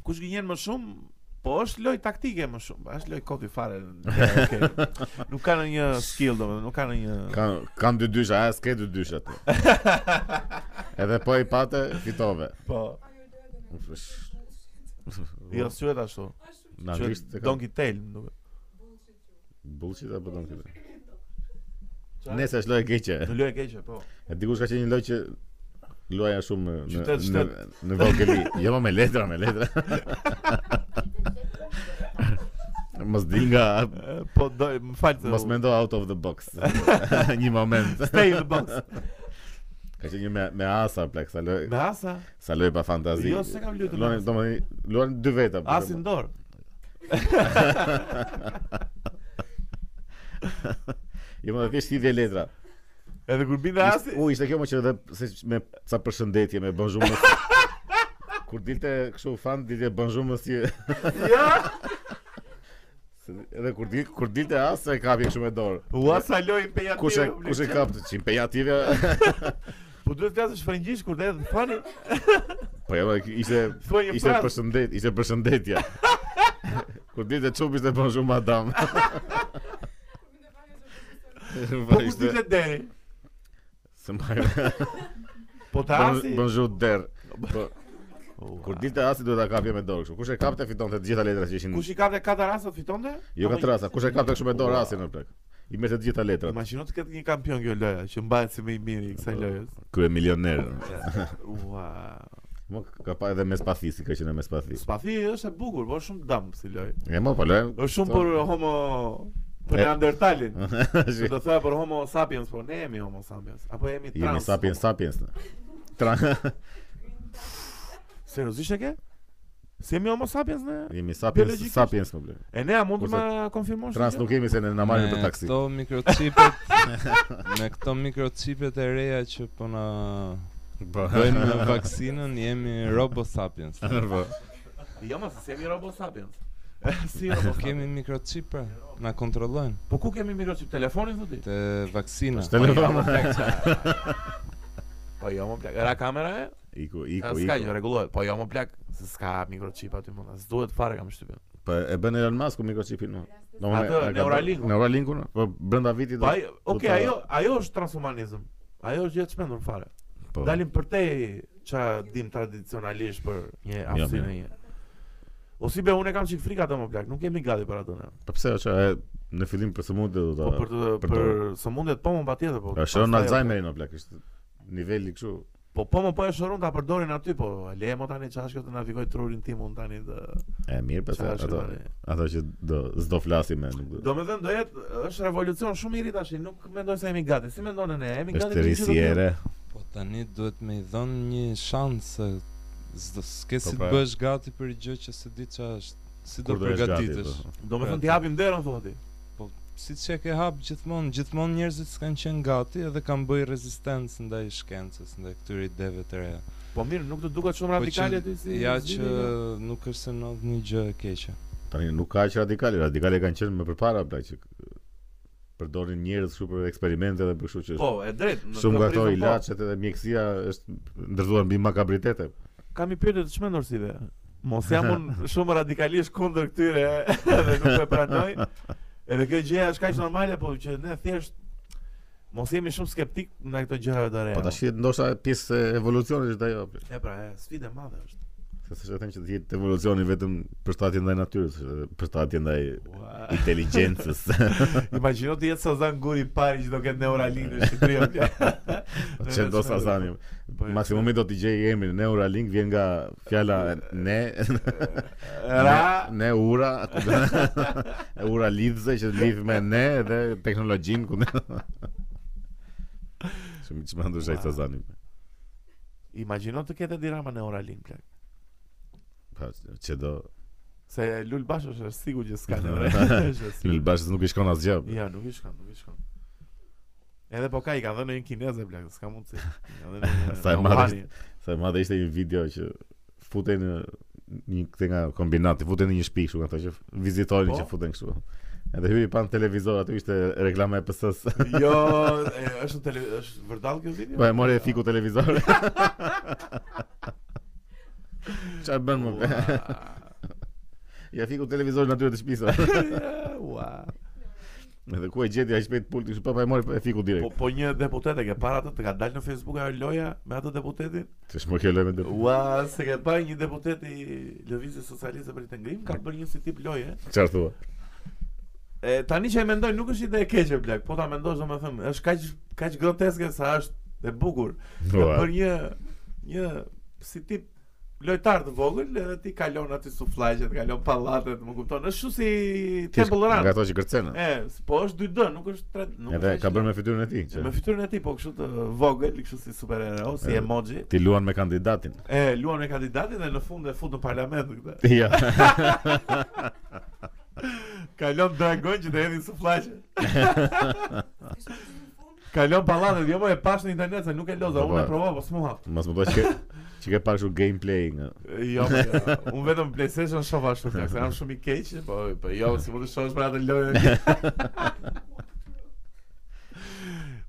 Kush gënjen më shumë, po është loj taktike më shumë, është loj koti fare. Ja, okay. Nuk ka ndonjë skill domethënë, nuk ka ndonjë
Kan kan dy dysha, a s'ke dy dysha ti. Edhe po i pate fitove.
po.
Ush,
Jo syet ashtu.
Po. Na
Që
anglisht e kanë
Donkey Tail, më duket.
bullshit apo donkey. Nëse është lojë keqe.
Në lojë keqe, po.
E dikush ka qenë një lojë që luaja shumë në
Qytet,
në
shtet.
në vogëli. Jo ma me letra, me letra. Mos dil nga
E, Po do, më fal të.
mos mendo out of the box. një moment.
Stay in the box.
Ka qenë një me me asa plak sa lojë
Me asa,
sa lojë pa fantazi.
Jo, se kam luajtur me
Luan
asa.
domethënë luan dy veta. po për
asin
shembull.
dorë.
Jo më thjesht hidhje letra.
Edhe kur binde asi,
Ishte- U ishte kjo më që edhe se me ca përshëndetje me bonjour. mos- Kur dilte kështu fan dilte bonjour monsieur.
ja.
Se Edhe kur dil kur dilte as e kapi kështu me dorë.
U asa loj pe
Kush e kush e kap të çim pejative?
Po duhet të flasësh frëngjisht kur të të thoni,
Po jo, ishte
Thuaj një
ishte
frazë.
përshëndet, ishte përshëndetje. Kur dilte çup ishte bonjour madam.
po
Po
kur ti të deri.
se mbaj.
Po të asi.
Bonjour der. Po kur
Kur
dilte asi duhet ta kapje me dorë kështu. Kush e kapte fitonte të gjitha letrat që ishin.
Kush i kapte katër rastet fitonte?
Jo
Apo-
ka rasa, kush e kapte kështu me
Po,
dorë asin në plak. I merrte të gjitha letrat.
Imagjino të ketë një kampion kjo loja, që mbahet si më i miri i kësaj lojës.
Ky e milioner.
Ua.
Mo ka pa edhe mes pafisi, ka qenë mes pafisi.
Spafi është e bukur, po është shumë dëm si lojë.
E mo po lojm.
Është shumë për homo për
E- Ah.
Neandertalin. Do të thoya për homo sapiens, po ne jemi homo sapiens, apo jemi trans.
Jemi sapiens sapiens. ne. Tra
Seriozisht e ke? Si jemi homo sapiens ne?
Jemi sapiens,
Biologikisht.
sapiens më bler.
E nea mund të
Kurse
ma konfirmosh?
Trans
këtë
nuk jemi se ne na marrin për taksi.
Me këto mikrochipet, me këto mikrochipet e reja që po na
Po.
bëjnë me vaksinën, jemi Robo Sapiens.
Po.
gjë? Jo, mos se jemi robo sapiens. si robo
Po
sapiens?
kemi mikrochip pra, na kontrollojnë
Po ku kemi mikrochip telefonin thotë? ti? jo,
te vaksina.
Është telefon.
Po jo, më plak. Era kamera e?
Iku,
Ka
iku,
s'ka gjë,
iku.
rregullohet. Po jo, më plak, se s'ka mikrochip aty më. S'duhet fare kam shtypën.
Po e bën Elon Musk mikrochipin. no. Do më-
Atë,
e ka bërë-
Neuralinku.
Neuralinku. no. Po brenda vitit.
Po
do-
ai, okay,
ta-
ajo, ajo është transhumanizëm. Ajo është gjë e çmendur fare.
po.
Dalim për te qa dim tradicionalisht për një
Jo,
hapësirë një. O si be, unë e kam qik frikë atë më plak, nuk kemi gati për atë ne.
Po pse është e, në fillim për sëmundje do ta.
Po për të,
për
për
të- Pra,
sëmundjet po më patjetër po.
E shëron
pastaj-
Alzheimerin o plak, është niveli kështu.
Po po më po e shëron ta përdorin aty, po le më tani çfarë është kjo të navigoj trurin tim unë tani të.
E mirë pse
Çfarë është
ato
tani?
ato që do s'do flasim më nuk do.
Domethënë do jetë është revolucion shumë i ri tash, nuk mendoj se jemi gati. Si mendon ne? Jemi gati.
Është
për gjithë të tjerë?
risiere.
Po tani duhet me i dhënë një shans se s'do s'ke
Po
si të
pra.
bësh gati për gjë që se di ç'a është, si do
Kur do jesh gati, po.
përgatitesh.
Domethënë ti hapim derën thotë. ti.
Si që e ke hap gjithmonë, gjithmonë njerëzit s'kanë qenë gati edhe kanë bëj rezistencë ndaj shkencës, ndaj këtyre ideve të reja.
Po mirë, nuk të duket shumë
Po
radikale
që-
ti si. jo?
Ja
si
që
liga.
nuk është se ndodh një gjë e keqe.
Tani nuk ka aq radikale, radikale kanë qenë më përpara plak që përdorin njerëz kështu për eksperimente dhe për kështu që
Po, e drejt. në
shumë nga ato
kaprizëm, po.
ilaçet edhe mjekësia është ndërtuar mbi makabritete.
Kam i pyetur të çmendur si ve. Mos jam unë shumë radikalisht kundër këtyre dhe nuk e pranoj. Edhe kjo gjë është kaq normale, po që ne thjesht mos jemi shumë skeptik ndaj këto gjërave të reja.
Po tash ndoshta pjesë e evolucionit është ajo. plak.
e pra, e, sfidë e madhe është.
Se s'është e them që të jetë evolucioni vetëm përshtatje ndaj natyrës, është edhe përshtatje ndaj
Ua.
inteligjencës.
Imagjino të jetë Sazan Guri i pari që do ketë Neuralink në Shqipëri. o plak.
Po që do sa zani.
Po, e,
Maksimumi do t'i gjej emrin Neuralink vjen nga fjala ne
Ra,
ne ura e ura lidhse që lidh me ne dhe teknologjinë ku ne. Shumë që më ndosha i Sazani.
imagjino të ketë dirama Neuralink plak.
Pa, Po, që do
Se Lul Bash është sigur që s'ka Neuralink. është e sigurt.
Lil Bash nuk i shkon asgjë.
Ja, nuk i shkon, nuk i shkon. Edhe po ka i kanë dhënë një kineze plak, s'ka mundsi. I kanë dhënë një-
Sa e
në
madhe
Wuhan.
Sa më dhe ishte një video që futen në një këtë nga kombinati, futen në një shtëpi kështu, ato që vizitorin
Po?
që futen kështu. Edhe hyri pan televizor, aty ishte reklama e PS-s.
Jo, e, është në tele, është vërdall kjo video?
Po e mori e fiku televizor. Qa bën më?
Ua.
Ja fiku televizor në atyre të shtëpisë.
Ja, Ua.
Edhe ku e gjeti ai shpejt pulti, kështu pa pa e mori e fiku
Po
direkt.
po një deputet e ke parë atë, të ka dalë në Facebook ajo loja me atë deputetin?
Të shmërkeloj me dërë.
Ua, se ke parë një deputet i Lëvizjes Socialiste për të ngrim, ka bërë një si tip loje.
Çfarë thua?
E tani që e mendoj nuk është ide e keqe blak, po ta mendosh domethënë, është kaq kaq groteske sa është e bukur. Ka
Ua.
bërë një një si tip lojtar të vogël edhe ti kalon aty sufllaqet, kalon pallatet, më kupton? Është kështu si
Ti je
Temple
Nga
Run.
ato që kërcen.
E, s- po është 2D, nuk është 3D, nuk
Edhe
është
ka bërë
me
po, me fytyrën e tij. që
me fytyrën e tij, po kështu të vogël, kështu si superhero, si
E.
emoji.
Ti luan me kandidatin.
E luan me kandidatin dhe në fund e fut në parlament këtë.
Ja.
Kalon dragon që të hedhin sufllaqe. Kalon pallatet, jo më e pash në internet se nuk e loza,
Po, po.
unë e provova, po s'mu hap.
Mos më thuaj që që ke parë kështu gameplay nga.
Jo, po, jo. unë vetëm PlayStation shoh ashtu, se jam shumë i keq, po po jo, si mund të shohësh për atë lojë.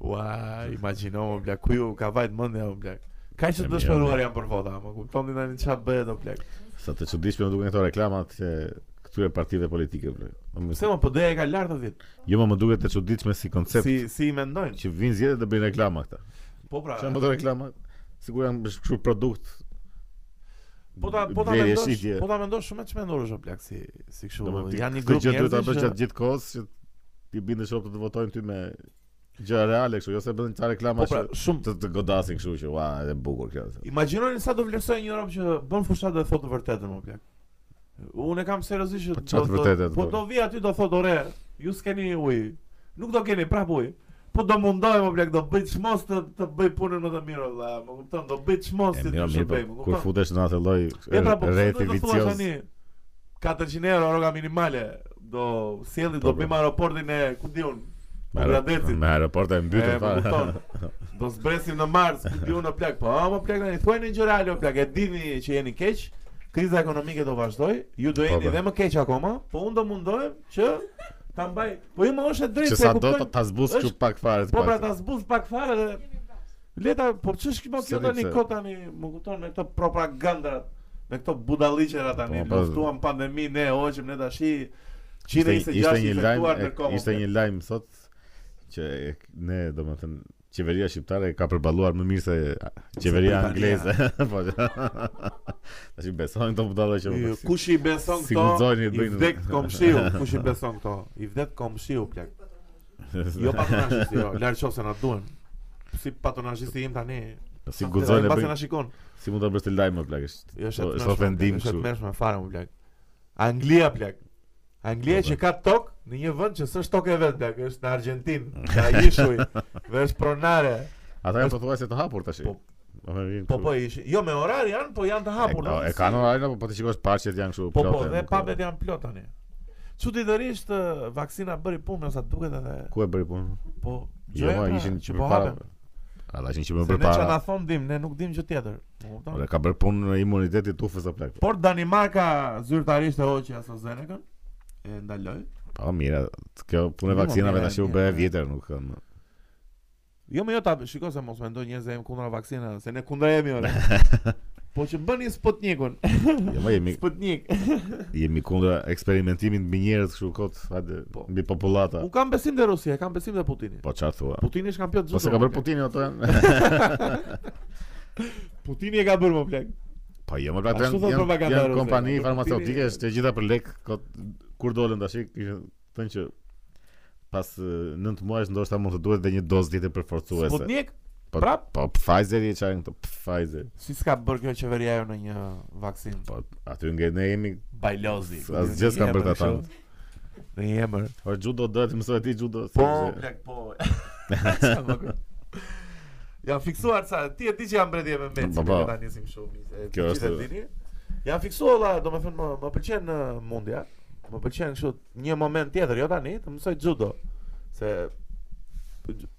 Ua, imagjino, më blaq, ku ju ka vajt mendja, më blaq. Kaq
E
të
mirë,
dëshpëruar janë për vota, më kupton ti tani çfarë bëhet o blaq.
Sa të çuditshme më duken këto reklamat që këtyre partive politike. bre. Më-
Pse më PD e ka lart atë ditë?
Jo më më duket të çuditshme si koncept
Si si i mendojnë?
që vinë zgjedhjet dhe bëjnë reklama këta.
Po pra.
Çfarë më të reklama? Sigur janë bëshë kështu produkt.
Po ta po ta
blerje,
mendosh,
shitje.
po ta mendosh shumë të çmendur është o blaq si si kështu.
Do me ti-
Janë një
këtë
grup
gjë duhet ta
njerëzish
bësh
që-
gjatë gjithë kohës që ti bindesh optë të votojnë ty me gjëra reale kështu, jo se bëjnë ca reklama
Po pra, Po,
që
shumë
të, të godasin kështu që ua, e bukur kjo.
Imagjinoni sa do vlerësoj një rob që bën fushat dhe thotë të vërtetën më plak. Unë e kam seriozisht
Po
që
çfarë të
do- do-
vërtetet,
Po
po?
do vi aty do thotë ore, ju s'keni ujë. Nuk do keni prap ujë. Po do mundoj më plak, do bëj çmos të të bëj punën më të mirë valla. Më kupton, do bëj çmos
E
si
mirë,
të
mirë,
shërbej, më
po, kur
kupton.
futesh në atë lloj
E pra, po
e,
pse
rrethi
do të thuash
vicioz.
tani? 400 euro rroga minimale do sjelli
Po,
do
po.
bëjmë aeroportin e ku diun.
me aer-
Bangladeshit.
Me aeroporte e
E,
mbytën
më kupton.
fare.
Do zbresim në mars, ku diun në plak. Po, a, më plak tani thuaj në gjëra alo plak, e dini që jeni keq. Kriza ekonomike do vazhdoj, ju do jeni
po.
dhe më keq akoma, po unë do mundohem që ta mbaj. Po ima është e
Që
drejtë,
sa
e
do
kuptoj.
ta- ta zbus kështu
Është-
pak fare. të
Po pra
paktën.
ta zbuz pak fare dhe Leta, po ç'është kjo kjo
Se
tani
di pse.
kot tani, më kupton me këto propaganda, me këto budalliqera tani,
Po, po.
luftuam pandemi, ne hoqëm ne tashi
Ishte,
126
ishte një lajm,
infektuar
e-
në kohë.
ishte një lajm sot që e- ne domethënë qeveria shqiptare ka përballuar më mirë se qeveria
Britania.
angleze. po. Tash i besojnë këto budalla që më
Ju- Kush i beson
si
këto?
guxojnë i
I
bëjnë-
vdek komshiu, kush i beson këto? I vdek komshiu plak. Jo patronazhisti, jo, larg qofse na duan. Si patronazhisti im tani.
si guxojnë e
Mbase na
bëjnë.
shikon.
Si mund ta bësh të lajm më plagësh.
Jo, Është
Po,
e
është
tmerrshme,
ofendim
është
kështu.
e tmerrshme fare më plak. Anglia plak. Anglia
Po,
që ka tok në një vend që s'është tokë e vet plak, është në Argjentinë, ka ishuj dhe është pronare.
Ata janë pothuajse të hapur tash.
Po-
Po
Po po ishi. Jo me orar janë, po janë të hapur.
E, e kanë orarin apo po ti shikosh parçet janë kështu
Po po,
plotë,
dhe
nuk-
pubet janë plot tani. Çuditërisht ë, vaksina bëri punë sa duket edhe
ku e bëri punën?
po
Jo,
gjëja
ma,
pra,
ishin
që
që
po
para.
hapen.
Ata ishin që më
Se ne që na
përpara.
thon dim, ne nuk dim gjë tjetër. Po kupton?
Ore, Ka bërë punë në imunitetit tufës apo plak.
Por Danimarka zyrtarisht e hoqi AstraZeneca-n e ndaloi.
Po mira, kjo punë e
Jo,
vaksinave
mira,
tash u
mira,
bë
mira.
vjetër, nuk um, kam.
Jo, më jo ta shiko se mos mendoj njerëz se jemi kundra vaksinave, se ne kundra jemi ora. po që bëni Sputnikun.
Jo, më jemi
Sputnik.
jemi kundra eksperimentimit mbi njerëz kështu kot, hajde,
Po.
mbi popullata.
Un kam besim te Rusia, kam besim te Putini.
Po çfarë thua?
Putini është kampion çdo.
Po se ka bërë Putini ato janë.
Putini e ka bërë më plak.
Po jo, më plak
Ashtu
janë,
thot
janë,
propaganda
janë
ruse,
kompani
po,
farmaceutike
Putini-
është e gjitha për lek kot kur dolën tash kishin thënë që pas 9 muajsh ndoshta mund të duhet edhe një dozë tjetër përforcuese.
Sputnik,
Po,
prap?
po Pfizer i çajnë këto Pfizer.
si s'ka bërë kjo qeveria jo në një vaksin.
Po aty nge ne jemi
Bajlozi.
asgjë s'ka bërë ata.
Në një emër.
Po judo do të mësoj ti judo.
Po,
sepse-
plak, po. Qa më kujt. Janë fiksuar ca, ti e di që janë bredje me Messi,
Po,
po,
po.
ta nisim shumë. e,
Kjo
gjithë e
është-
dini. Janë fiksuar valla, domethënë më më pëlqen ë, mundja. Më pëlqen kështu një moment tjetër, jo tani, të mësoj judo. Se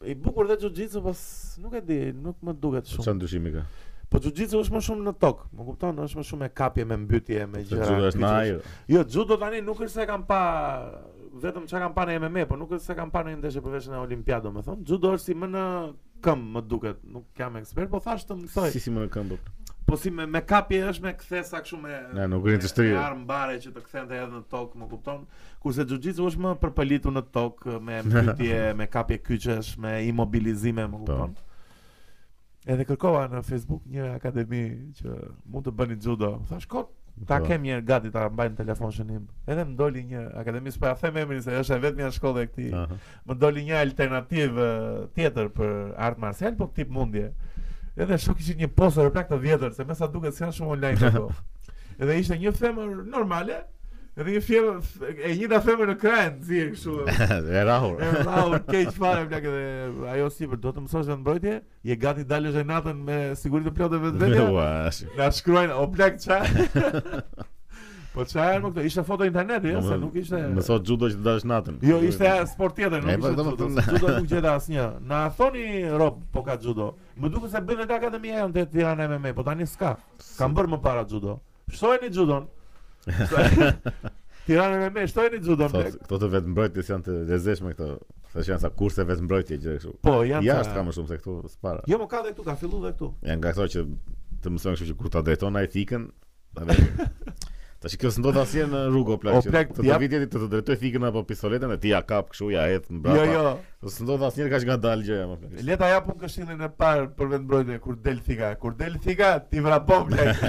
i bukur dhe jiu-jitsu, po s- nuk e di, nuk më duket
Po
shumë.
çan dyshimi ka.
Po jiu-jitsu është më shumë në tokë, më kupton, është më shumë e kapje me mbytje, me
Se
gjëra.
judo është në
pitch,
ajër.
Jo, judo tani nuk është se kam pa vetëm çka kam pa në MMA, por po nuk është se kam pa në një ndeshje përveç në Olimpiadë, domethënë. Judo është si më në këmbë, më duket. Nuk jam ekspert, po thash të mësoj.
Si si më në këmbë.
Po si me, me kapje është me kthesa kështu me
Ne nuk rin të
me
shtrirë.
armë bare që të kthente edhe në tokë, më kupton? Kurse jiu-jitsu është më përpëlitur në tokë me mbytje, me kapje kyçesh, me imobilizime,
Po.
më kupton? Edhe kërkova në Facebook një akademi që mund të bëni judo. Thash kot, ta
Po.
kem një herë gati ta mbaj në telefon shënim. Edhe më doli një akademi, s'po ja them emrin se është e vetmja shkollë e këtij.
Aha.
Më doli një alternativë eh, tjetër për art marcial, po tip mundje. Edhe shok ishin një poster plak të vjetër, se me sa duket se janë shumë online ato. Edhe ishte një femër normale, edhe një femër e njëjta femër në krajnë, zi kështu.
e rahur.
E vau, keq fare plak edhe ajo sipër do të mësosh dhe mbrojtje, je gati dalësh e natën me siguri të plotë vetvetja.
Ua, është-
Na shkruajnë o plak ça. po ça janë më këto? Ishte foto interneti, ja,
Më-
se nuk ishte
Më thot judo që të dalësh natën.
Jo, ishte sport tjetër,
E,
nuk
po,
ishte
domethënë-
judo. se Judo nuk gjeta asnjë. Na thoni Rob, po ka judo. Më duket se bën edhe akademia janë te Tirana MMA, po tani s'ka. Kam bërë më para judo. Shtojeni judon. Tirana MMA, shtojeni judon.
Thot, këto të vetë mbrojtjes janë të lezetshme këto. Sa që janë sa kurse vetë mbrojtje gjë kështu.
Po, janë.
Jashtë
ca-
ka më shumë se këtu s'para.
Jo, më ka dhe këtu, ka fillu dhe këtu.
Janë nga këto që të mësojnë kështu që kur ta drejton ai fikën, edhe Tash kjo s'ndodh asnjë në rrugë o plak.
O,
që
plak,
të të
jap-
vitë ti të të drejtoj fikën apo pistoletën e ti ja kap kështu ja hedh mbrapa.
Jo, jo.
S'ndodh asnjëherë kaq ngadalë gjëja më plak.
Le ta japun këshillin e parë për vetmbrojtje kur del thika. Kur del thika, ti vrapon blek.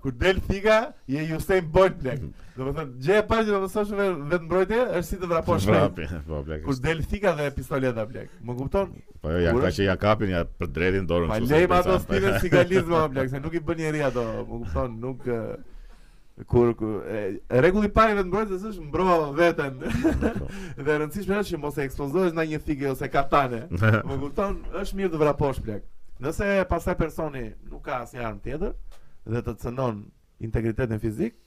kur del thika, je Usain Bolt blek. Domethënë, gjë e parë që do të thosh vetë vetmbrojtje është si të vrapon shpejt.
Vrapi, po plak.
Kur del thika dhe pistoleta blek. Më kupton?
Po jo, ja
kur
ka
është-
që ja kapin ja për drejtin dorën.
Pa
kështu, se
lejm
pensa-
ato stilet sigalizma blek, se nuk i bën njerëj ato, më kupton, nuk ë, Kur, kur e, e regulli i parë i vetë mbrojtës është mbro veten.
Po,
dhe e rëndësishme është që mos e ekspozohesh ndaj një thige ose katane. Më kupton, është mirë të vraposh plak. Nëse pastaj personi nuk ka asnjë armë tjetër dhe të cënon integritetin fizik,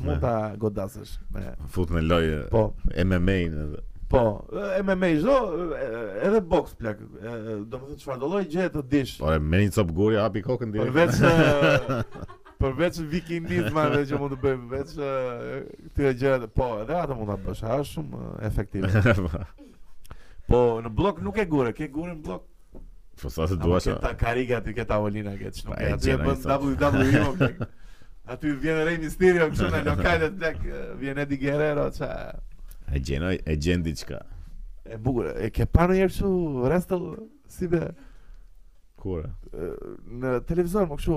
mund ta godasësh me
Fut në lojë
po.
MMA-n edhe.
Po, e MMA çdo e- edhe boks plak. e, Domethënë çfarë do lloj gjë të dish.
Po e merr një cop guri, hapi kokën direkt.
Përveç e, përveç vikingizmave që mund të bëjmë, veç e, këtyre gjërave, po, edhe ato mund ta bësh, a është shumë e, efektive. Po, në blok nuk e gure, ke gure në blok.
Po sa të
Ama
duash.
ke ta kariga aty, ke tavolina ke çno.
Pa, e
Aty e
gjera
bën
një sot.
WWE o plak. Aty vjen Rey Mysterio kështu në lokalet plak, e, vjen Eddie Guerrero ça.
E gjenoj, e gjen diçka.
E bukur, e ke parë ndonjëherë kështu wrestle si be
Kur?
në televizor më kështu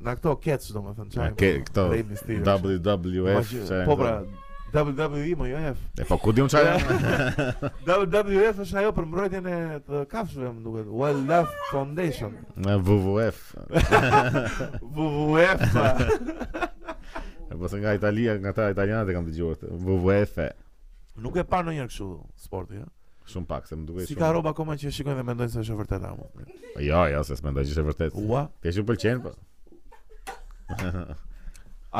në ato catch domethënë çaj.
Ke këto
Rey Mysterio, kështu.
WWF.
Ma që-
qa janë
Po
këto?
pra, WWE më jo F.
E po ku diun çfarë?
WWF është ajo për mbrojtjen e të kafshëve më duket. Wildlife Foundation.
Në WWF.
WWF.
E po se nga Italia, nga ta italianët e kam dëgjuar. këtë. WWF. -e.
Nuk e parë ndonjëherë kështu sporti, ëh.
Shumë pak se më duket
Si
shumë.
ka roba akoma që shikojnë dhe mendojnë se është e vërtetë apo.
Jo, jo, se s'mendoj që është e vërtet.
Ua,
Ti që pëlqen po.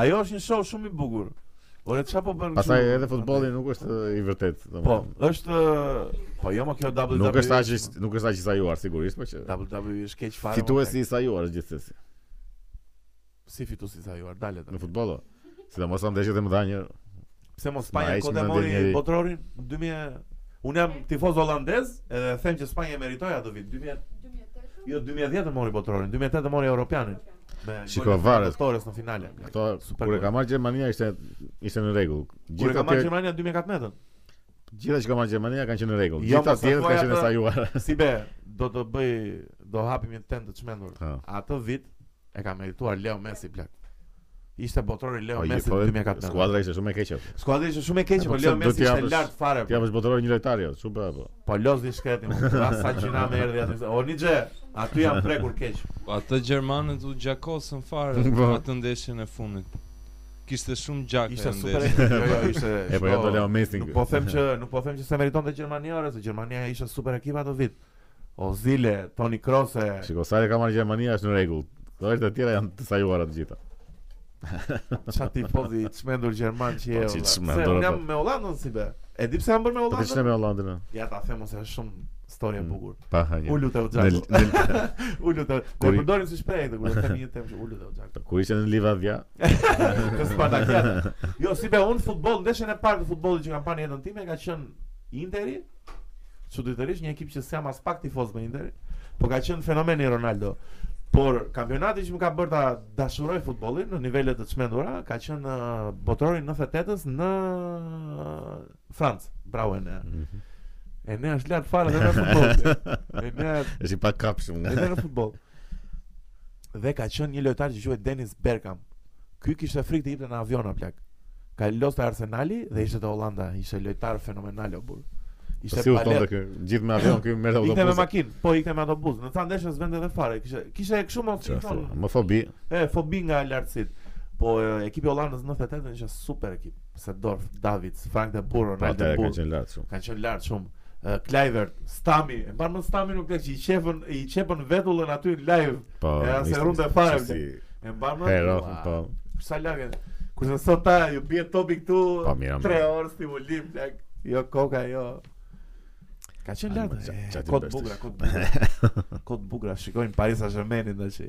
ajo është një show shumë i bukur. Ore çfarë po bën?
Pastaj
kështu?
edhe futbolli nuk është i vërtet,
Po,
domethënë.
është po jo më kjo WWE.
Nuk është aq i- nuk është aq i sajuar sigurisht, po që
WWE është keq fare.
fituesi i sajuar është gjithsesi.
mo, si fituesi sa juar, dalet.
Në futboll. o. Sidomos sa ndeshjet e mëdha një
Pse mos
Ma,
Spanja
ai që
kot
më
e
ndjen
mori
njeri.
botrorin 2000 Unë jam tifoz holandez edhe them që Spanja e meritoi atë vit 2000 Jo 2010 e mori botrorin, 2008 e mori europianin. Me
Shiko,
golin e
varet.
Torres në finale.
Këto
Super
kur e
gol.
ka marrë Gjermania ishte ishte në rregull.
Kur e
Gjithë
ka marrë
atje
Gjermania 2014-ën.
gjithë që ka marrë Gjermania kanë qenë në rregull.
Jo,
Gjithë
mos
atje
e thuaj
kanë qenë
atë-
sajuar.
Si be, do të bëj do hapim një temë të çmendur.
Ha.
Atë vit e ka merituar Leo Messi plak. Ishte botrori Leo
Po,
Messi
po,
2014.
Skuadra ishte shumë e keqe.
Skuadra ishte shumë e keqe,
Po,
po
pse
Leo
do
Messi
t'i
ishte
japësh-
lart fare.
Ti apo botoroi një lojtar jo, çu bë apo.
Po lozin shkretin, ra sa gjina me erdhi aty. O Nixhe, aty jam prekur keq.
Po atë gjermanët u gjakosën fare
Po.
atë ndeshjen e fundit. Kishte shumë gjak
Ishte
e
super.
ndeshjes.
Jo, jo, ishte.
E po
shko,
jo do Leo Messi.
Nuk po them që nuk po them që se meritonte Gjermania, ore, se Gjermania ishte super ekip ato vit. Ozile, Toni Kroos, e-
Shiko, sa e ka marrë Gjermania është në rregull. Lojtarët e tjera janë të sajuara të gjitha.
çfarë tifozi i çmendur gjerman që je.
Po, si
olla. Se
çmendur,
unë jam
po.
me Hollandën si be. E di pse jam bërë me
Po Mm, ti
Hollandën?
ç'ne me Hollandën? a?
Ja ta them ose është shumë storie e bukur.
Pa hanje.
U lutë u
Në,
xhak.
në,
U lutë. Ne
Kur i-
përdorim si shprehje këtë kur do të themi një temë që u lutë u xhak.
kur ishte në Livadja,
Të Spartakiada. Jo, si be unë futboll, ndeshjen e parë të futbollit që kam parë në jetën time ka qenë Interi. Çuditërisht një ekip që s'jam as pak tifoz me Interi, po ka qenë fenomeni Ronaldo. Por kampionati që më ka bërë ta dashuroj futbollin në nivele të çmendura ka qenë uh, botrori 98-s në uh, Francë. Bravo e ne. E ne është lart fare dhe në futboll. E ne
është i pa kapshëm nga.
edhe në futboll. Dhe ka qenë një lojtar që quhet Dennis Bergkamp. Ky kishte frikë të hipte në avion o plak. Ka lost te Arsenali dhe ishte te Holanda, ishte lojtar fenomenal o burr. Ishte
Po Si u thonte
palet.
ky? Gjithë me avion ky merr
Ikte me
autobus.
makinë, po ikte me autobus. Në ca ndeshje s'vende edhe fare. Kishte kishte kështu mos i
Çfarë?
thon.
Më fobi.
E fobi nga lartësit. Po e, ekipi i Hollandës 98 ishte super ekip. Sedorf, Davids, Frank de Boer,
Po
Ronaldo
atë ka
Boer.
qenë lart shumë.
Kanë qenë lart shumë. Uh, Kluivert, Stami, e mban më Stami nuk lek që i qepën i qepën vetullën aty live.
Po.
E, as e
ishte-
rrunda e fare,
ishte si-
E mban më.
Hero,
Ua,
po.
Sa lagë. Kurse sot ta ju bie topi këtu
Po, mira,
3
mira.
orë stimulim plak. Jo koka, jo. Ka qenë
A,
lart.
ma, qa-
e,
qa ti
Kot
bësh
bugra,
tash?
kot bugra. Kot bugra, shikojnë Paris Saint-Germainin tash.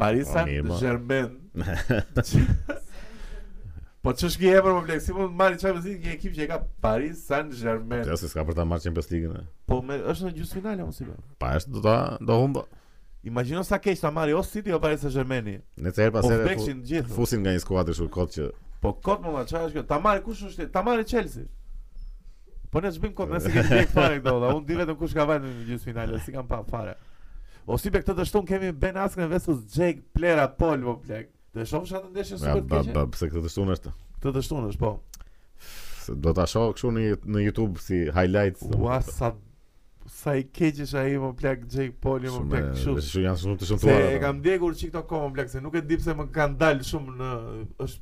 Paris
Po, mirë, mo.
Saint-Germain. Po ç'është kjo emër më blek, si mund të marrë Champions League një ekip që e ka Paris Saint-Germain.
Të se s'ka për ta marrë Champions League-ën. e.
Po me, është në gjysmëfinale mos i bë.
Pa është do ta do humba.
Imagjino sa keq ta marrë o City o Paris Saint-Germaini.
Ne të herë
Po
pas here fu-
vdekshin të gjithë.
fusin nga një skuadër shumë kot që
Po kot më çfarë është kjo? Ta marrë kush është? Ta marrë Chelsea. Po ne çbim kot nëse kemi bek fare këto, unë di vetëm kush ka vënë në gjysmëfinale, si kam pa fare. O si be këtë të shtun kemi Ben Askren versus Jake Plera Pol po plek. Do e shohësh atë ndeshje
Ja,
super eh? të
ba,
keqe?
ba, pse këtë të shtunë është.
Këtë të shtun është po.
Se Do ta shoh kështu në në YouTube si highlights.
Ua sa sa i keq është ai më plak Jake Paul më
Shumë,
plak
e-
kështu.
shumë janë shumë të
po.
po.
Se
shëmtuara.
e kam ndjekur që këto kohë më plak se nuk e di pse më kanë dalë shumë në është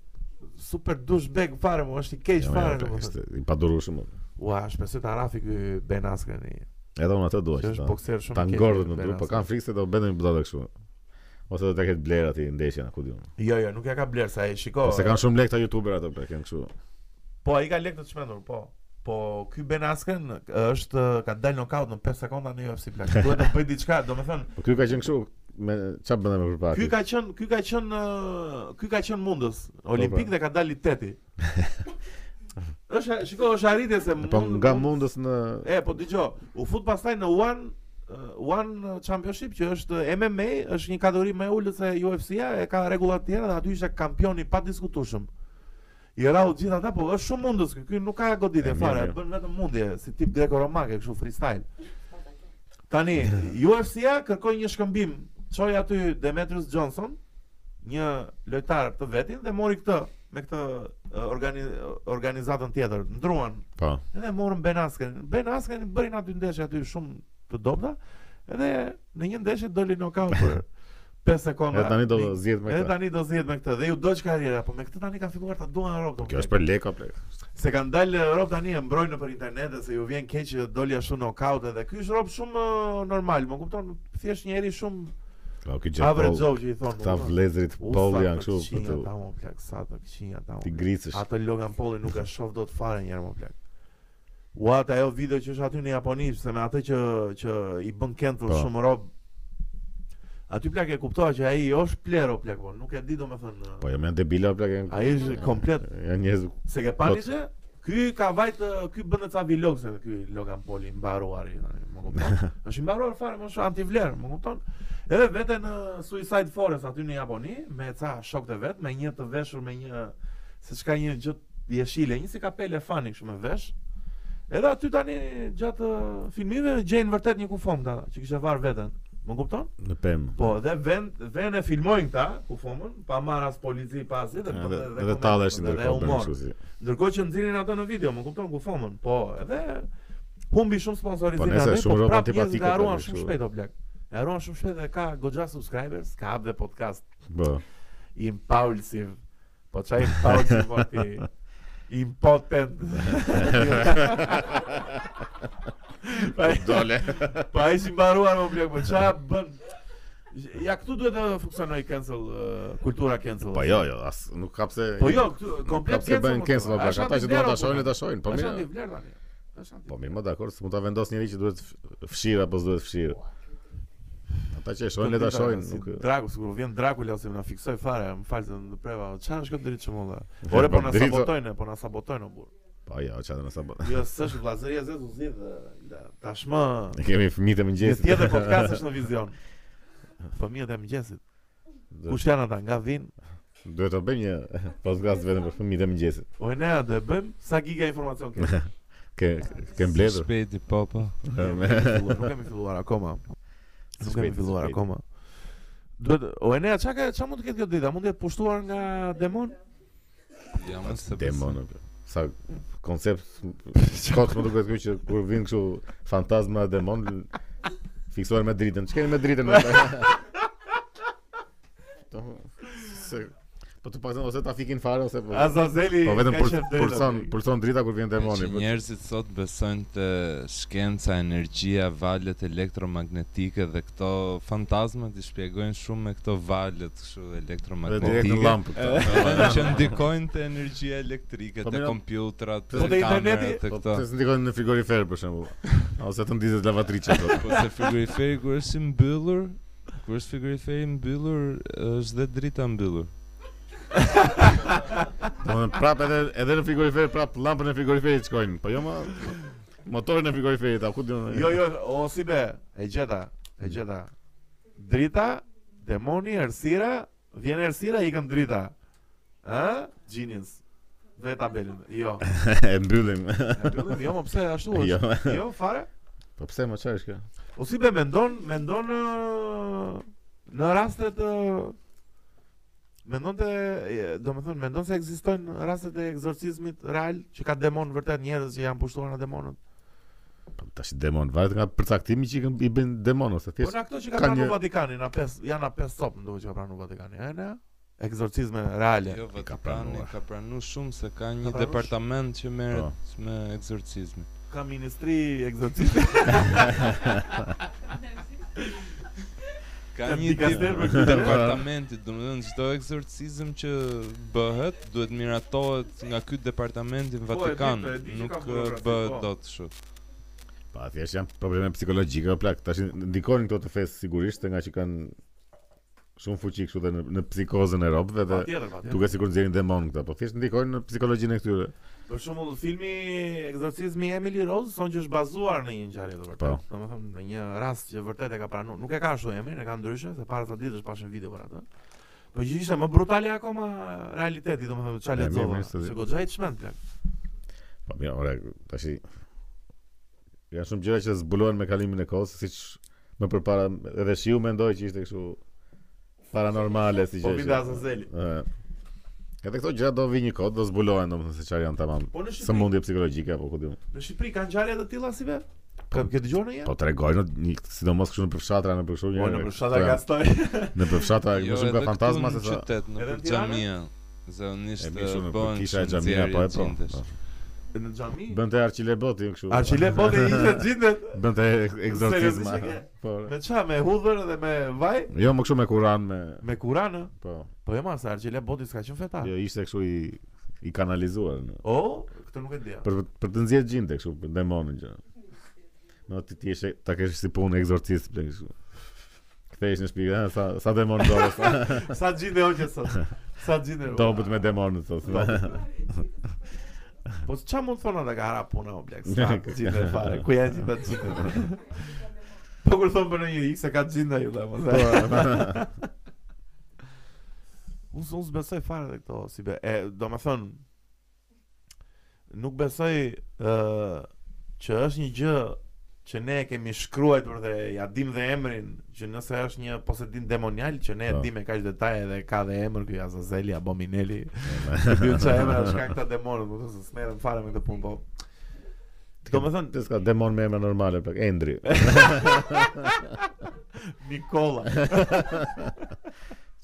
super douchebag fare, mo është i keq
Ja,
fare, po.
ja,
domethënë.
ishte I padurueshëm.
Ua, shpresoj ta rafi ky Ben Askreni.
Edhe unë atë dua që
Që është
Po,
po
ta-
bokser shumë
ta
i keq,
ngordhet në
Ben
dru, po
Askren.
kanë frikë se do bëndën budalla kështu. Ose do ta ketë bler aty ndeshjen, ku diun.
Jo, jo, nuk ja ka bler sa e shiko.
Po se kanë shumë lek ta youtuber ato, pra kanë kështu.
Po ai ka lekë të çmendur, po. Po ky Ben Askren është ka dalë knockout në 5 sekonda në UFC plak. Duhet të bëj diçka, domethënë,
Po ky ka qenë kështu me çfarë bëndë me përpara.
ky ka qen, ky ka qen, ë, ky ka qen mundës olimpik
pra.
dhe ka dalë i teti. Është shiko, është arritje se
po
mund-
nga mundës në
E, po dëgjoj, u fut pastaj në One uh, One Championship që është MMA, është një kategori më e ulët se UFC-ja, e ka rregulla të tjera dhe aty ishte kampion i padiskutueshëm. I rau të gjithë ata, po është shumë mundës ky, ky nuk ka goditje
E, mirë,
fare,
mirë.
bën vetëm mundje si tip greko-romake kështu freestyle. Tani UFC-ja kërkoi një shkëmbim. Çoi aty Demetrius Johnson, një lojtar të vetin dhe mori këtë me këtë uh, organi organizatën tjetër. Ndruan
po.
Edhe morën Ben Askren. Ben Askren bërin aty ndeshje aty shumë të dobta. Edhe në një ndeshje doli knockout për 5 sekonda.
Edhe tani do zgjedh me
Edhe
këtë.
tani do zgjedh me këtë dhe ju doq karriera, po me këtë tani kanë filluar ta duan në Europë.
Kjo është për leka plek.
se kanë dalë Europë tani e mbrojnë nëpër internet dhe se ju vjen keq që doli ashtu knockout edhe ky është Europë shumë ë, normal, më kupton? Thjesht njëri shumë
Po ky gjë.
average
po,
Joe që i thonë.
Ta vlezrit Paul janë kështu për
për të.
të
Ata më plak sa të këqinja ata. mo,
ti
plak.
gricesh.
Atë Logan Paulin nuk e shoh dot fare një herë më plak. Ua, atë ajo video që është aty në Japoni, se me atë që që i bën cancel
Po.
shumë rob. Aty plak e kuptova që ai është plero plak, po nuk e di domethënë.
Po jo më debila plek. janë-
Ai është komplet
Janë njerëz
se ke pani se ky ka vajt ë, ky bën ca vlog se ky Logan Paul i mbaruar i tani, më kupton. Është i mbaruar fare, më shumë antivler, më kupton. Edhe vete në Suicide Forest aty në Japoni me ca shokët e vet, me një të veshur me një se çka një gjë jeshile, një si kapele fani kështu me vesh. Edhe aty tani gjatë ë, filmimeve gjejnë vërtet një kufom ta që kishte varë veten. Më kupton?
në pemë.
Po, dhe vend vend e filmojnë këta kufomën, pa marr as polici pa asgjë dhe po-
Edhe
dhe-
edhe
komentin,
tallesh
dhe
ndërkohë bën
humor.
kështu si.
Ndërkohë që nxirin ato në video, më kupton ku fomën. Po, edhe humbi shumë
Po,
sponsorizime
nëse
aty, po
shumë rob
prap njerëzit
antipatike,
e haruan
po,
shumë
kështu.
shpejt o blek. E haruan shumë shpejt dhe ka goxha subscribers, ka hap dhe podcast
Po.
impulsive. Po çaj impulsive po ti. Impotent. Pa-
Po, Dole.
Pa Po, ai si mbaruar më blek, po ç'a bën? Ja këtu duhet të funksionoj cancel uh, kultura cancel.
Po jo, jo, as nuk ka pse.
Po jo, këtu komplet
Ka pse bëjnë cancel
më thua.
plak.
Është
Ata që duan ta
antivlerë,
shohin,
o,
ta shohin. Po
Është
mirë.
antivlerë tani. Është antivlerë.
Po mirë, më dakord, se mund ta vendos njëri që duhet f- fshir apo s'duhet fshir. Ata që e shohin le po, ta shohin,
Si
nuk
Draku, sigur vjen Dracula ose na fiksoj fare, më fal se në preva. Çfarë është kjo dritë çmolla? Ore po na
Drita-
sabotojnë, po na sabotojnë o burr.
Po ja, çfarë na sa bën.
Jo, s'është vllazëria zë u zgjidh. Tashmë
Ne kemi fëmijët e
një
mëngjesit.
tjetër podcast është në vizion. Fëmijët e mëngjesit.
Do-
Kush janë ata? Nga vin?
Duhet të bëjmë një podcast vetëm për fëmijët e mëngjesit.
O ne do e bëjmë sa giga informacion kemi.
Ke ke mbledhur.
Shpejti papa.
Nuk kemi filluar, nuk kemi filluar akoma. Nuk kemi
Shpejt,
filluar
shpejt.
akoma. Duhet o e ne çka ka- çka mund të ketë kjo ditë? A Mund të jetë pushtuar nga demon?
Ja mos se
Demon. o, plak. Sa koncept kot më duket kjo që kur vin kështu fantazma demon l- fiksohen me dritën. Ç'keni me dritën? Do se po të paktën ose ta fikin fare ose po.
Azazeli
Po vetëm
ka
pul-
qef drejtë,
pulson
o,
pulson drita kur vjen demoni.
Që
po.
njerëzit sot besojnë të shkenca, energjia, valët elektromagnetike dhe këto fantazmat i shpjegojnë shumë me këto valët kështu
Dhe direkt në
elektromagnetike.
llampë. këto.
Domethënë që ndikojnë te energjia elektrike,
Po
te
mira,
kompjuterat,
po
te
te
kamerat,
interneti-
te
Po
këto.
të ndikojnë në frigorifer për shembull. Ose të ndizet lavatriçe ato.
Po se frigoriferi kur është i mbyllur, kur është frigoriferi i mbyllur, është dhe drita mbyllur.
Domethënë prapë edhe edhe në frigorifer, prapë llampën e frigoriferit shkojnë. Po jo më motorin e frigoriferit, a ku do?
Jo, jo, o si be, e gjeta, e gjeta. Drita, demoni, ersira, vjen ersira, ikën drita. Ë? Genius. Dhe tabelën. Jo.
e mbyllim.
E bëllim, jo, më pse ashtu
Jo.
është? Jo, fare.
Po pse më çfarë është kjo?
O si be mendon, mendon ë, në rastet ë, Mendon të, e, do më thënë, mendon se egzistojnë rastet e egzorcizmit real, që ka demon vërtet njerëz që janë pushtuar nga demonët.
Po tash demon, varet nga përcaktimi që i kanë- i bën demon ose
Po
thjesht.
na këto që ka
ka
pranu
një-
Vatikani, na pes, janë na pes top, ndohë që ka pranu Vatikani, e ne? eksorcizme reale.
Jo,
ka
Vatikani
pranuar. Po.
ka pranuar shumë se ka një
pranuar
departament që merret me egzorcizmin.
Ka ministri eksorcizme.
Ka
Ka
një
dikaster për
këtë.
departamenti, domethënë çdo egzorcizëm që bëhet duhet miratohet nga ky departamenti në
Po, e di,
Vatikan.
po, e di që
Nuk
ka
eh,
burokraci,
bëhet
po.
dot kështu.
Pa, thjesht janë probleme psikologjike, o plak. Tash ndikojnë këto të fesë sigurisht nga që kanë shumë fuqi kështu dhe në, në psikozën e robëve dhe
Patjetër, patjetër.
duke sikur nxjerrin demon këta, po thjesht ndikojnë në psikologjinë e këtyre.
Për shembull, filmi Eksorcizmi i Emily Rose thonë që është bazuar në një ngjarje të vërtetë.
Po.
Domethënë në një rast që vërtet e ka pranuar. Nuk e ka ashtu emrin, e ka ndryshe, se para sa ditësh pashën video për atë. Po që ishte më brutale akoma realiteti, domethënë çfarë
E, mirë,
lexova.
mirë, se di.
Se goxha i çmend plak.
Po mirë, ora, tash i- janë shumë gjëra që zbulohen me kalimin e kohës, siç më përpara edhe shiu mendoi që ishte kështu paranormale si gjë.
Po
që-
vinte Azazeli.
Ë. Edhe këto gjëra do vi një kohë, do zbulohen domethënë se çfarë janë tamam.
Po në Shqipëri,
Sëmundje psikologjike apo ku diun.
në Shqipëri kanë ngjarje të tilla si ve? Ka ke dëgjuar ndonjë?
Po tregojnë një- sidomos kështu në përfshatra në përkështu
Po,
një.
në përshata ka stoj.
Në përfshatra më shumë ka
Jo, edhe
fantazma
këtu
se
në
sa.
qytet në
Edhe
për
në Tiranë?
xhamia. Zakonisht
E
eh,
mirë shumë
bëhen
në kisha e
shumë
xhamia
nxjerrje
po e po.
gjindesh.
po.
Në xhami.
Bën te Arçile Boti kështu.
Arçile bote i ishte gjindet.
Bën te egzorcizma.
Seriozisht e ke?
Po.
Me qa, me hudhër dhe me vaj?
Jo më kështu me Kur'an me
Me kuranë?
po.
Po e marë, se Argjele Boti s'ka qenë fetar.
Jo ishte kështu i i kanalizuar në.
O, këtë nuk e dija.
Për për të nxjerrë gjinte kështu për demonin gjë. No ti ti ishe ta kesh si punë egzorcist bler kështu. Kthehesh në shtëpi, ha, sa sa demon do sa
Sa gjinde o që sot. Sa gjinde o.
dobët me demonët thotë.
Po qa mund thonë ata ka hara puna o blek? Sa gjinde fare, ku janë gjitha gjinde? Po kur thonë për në një ikë se ka gjinde ju dhe më se. Unë unë s'besoj fare dhe këto, si be. E, do me thënë, nuk besoj ë që është një gjë që ne e kemi shkruajtur dhe ja dim dhe emrin, që nëse është një posedim demonial që ne e
Po.
dim me kaq detaje dhe ka dhe emër ky Azazeli Abomineli.
Po,
Dy çaj emra është ka këta demonë, do të thotë se smerrem fare me këtë punë, po. Do me thënë
Të s'ka demon me emra normale, plak, Endri.
Nikola.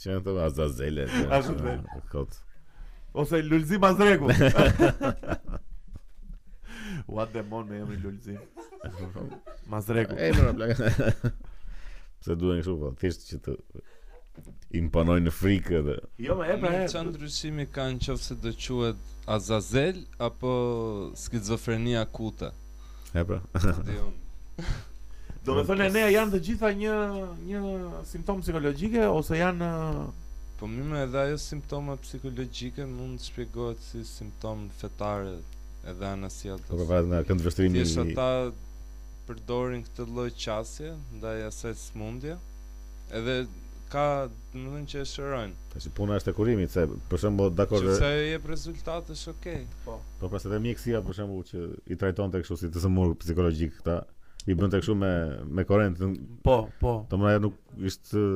Që në të eh, Azazele. që-
Azazele.
Kot.
Ose Lulzim Azreku. Ua demon me emrin Lulzim. Mazreku.
Emra, plak. Pse duhen kështu, po, thjesht që të imponojnë në frikë dhe
Jo, më e pra
Çfarë
e.
ndryshimi ka në qoftë se do quhet Azazel apo skizofrenia akute? jo,
e pra.
Di unë.
Do me thënë e ne janë të gjitha një një simptom psikologjike ose janë ë,
Po mi me edhe ajo simptoma psikologjike mund të shpjegohet si simptom fetare edhe
Po
anasjellës.
përpara nga këndvështrimi
Thjesht
i
ata përdorin këtë lloj qasje ndaj asaj smundje. Edhe ka, do të thënë që e shërojnë.
tash puna është e kurimit se për shembull dakor
Që se e jep rezultat është okay.
po pas edhe mjekësia për shembull që i trajtonte kështu si të sëmur psikologjik këta i bënte kështu me me korrent
po, po.
domethënë ajo nuk ishte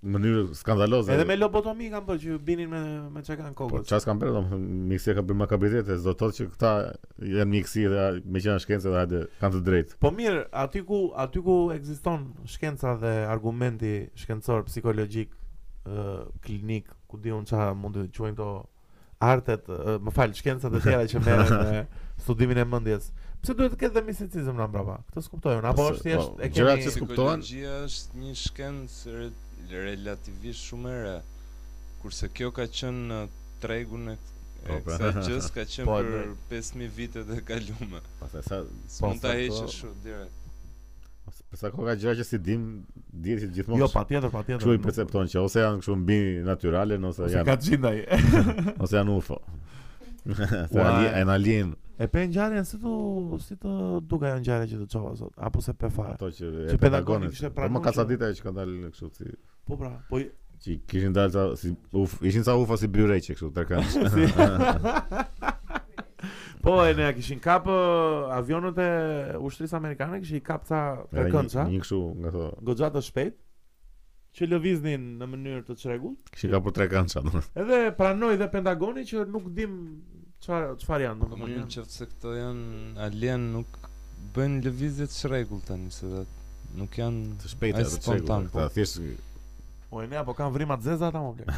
në mënyrë skandaloze
Edhe me lobotomi kanë bërë që binin me me çka kanë
Po
kokës.
çfarë s'kam bërë domethënë mjekësia ka bërë makabritete, do thotë që këta janë mjekësi dhe me qenë shkencë dhe hajde kanë të drejtë.
Po mirë, aty ku aty ku ekziston shkenca dhe argumenti shkencor psikologjik ë klinik, ku diun çfarë mund të quajnë to artet, ë, më fal, shkencat e tjera që merren me studimin e mendjes. Pse duhet të ketë dhe misticizëm na mbrapa? Këtë s'kuptoj unë, apo
Po,
është thjesht
po,
e
gjërat
kemi
që s'kuptohen?
Psikologjia është një shkencë re- relativisht shumë e re. Kurse kjo ka qenë në tregun e
Po,
e
pra.
kësaj gjës ka qenë
Po, e
për
drejt.
5000 vite të kaluara.
Pastaj sa
S'mund ta
sa
heqësh
to-
kështu direkt.
pas sa kohë ka gjëra që si dim, dihet që gjithmonë.
Jo, patjetër, patjetër.
Kështu i
nuk-
percepton që ose janë kështu mbi natyrale ose
Ose
janë
ka gjindaj.
ose janë UFO. Se
Ua,
alien, janë alien
E pe ngjarjen si të si të duka ajo ngjarje që të çova sot, apo se pe fare.
ato që
Që
e
Pentagoni
Pentagonit.
kishte
Po më
pranuar
ka sa
që-
ditë ajo që ka dalë kështu si
Po pra, po i-
që i kishin dalë sa si uf, ishin sa UFO si byreqe kështu tërkanç.
Si. po e ne kishin kap ë, avionët e ushtrisë amerikane kishin kap ca të
Era
këndca,
Një një kështu nga ato.
goxha të shpejt që lëviznin në mënyrë të çrregullt.
Kishin kapur tre kança domethënë.
Edhe pranoi dhe Pentagoni që nuk dim çfarë çfarë janë
Po më
domethënë.
në qoftë se këto janë alien nuk bëjnë lëvizje të shregull tani se dhe nuk janë
Të shpejtë
Ai
ato
spontan,
çegu.
po.
Ta thjesht
O e ne apo kanë vrimat zeza ata më plak.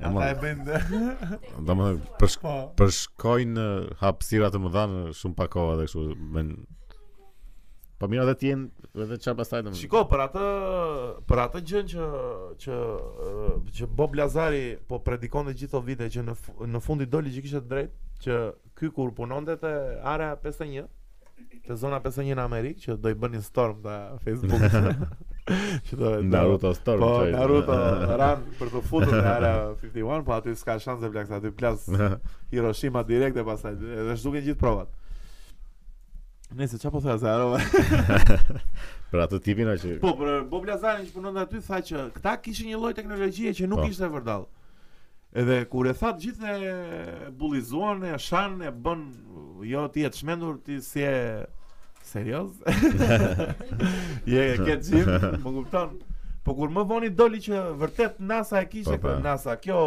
E,
Ata
mo-
e bëjnë.
Do më thënë, për, shk
Po.
për shkojnë eh, hapësira të mëdha në shumë pak kohë dhe kështu men Po mirë edhe ti jenë edhe çfarë pastaj do.
Shiko, për atë për atë gjën që që ë, që Bob Lazari po predikon të gjithë këto vite që në fu- në fundi doli që kishte drejt që ky kur punonte te area 51 te zona 51 në Amerikë që do i bënin storm ta Facebook. që do do-
Naruto Storm.
Po
qoj.
Naruto ran për të futur në area 51, po aty s'ka shanse blaq, aty plas Hiroshima direkt e pastaj edhe zhduken gjithë provat. Nëse çfarë po thua se harova.
për atë tipin a që
Po, për Bob Lazarin që punon aty tha që këta kishin një lloj teknologjie që nuk
Po.
ishte e vërdall. Edhe kur e tha të gjithë e bullizuan, e shan, e bën jo ti e të shmendur, ti si e serioz. Je ke gjim, më kupton. Po kur më voni doli që vërtet NASA e kishte
Po, po.
këtë NASA, kjo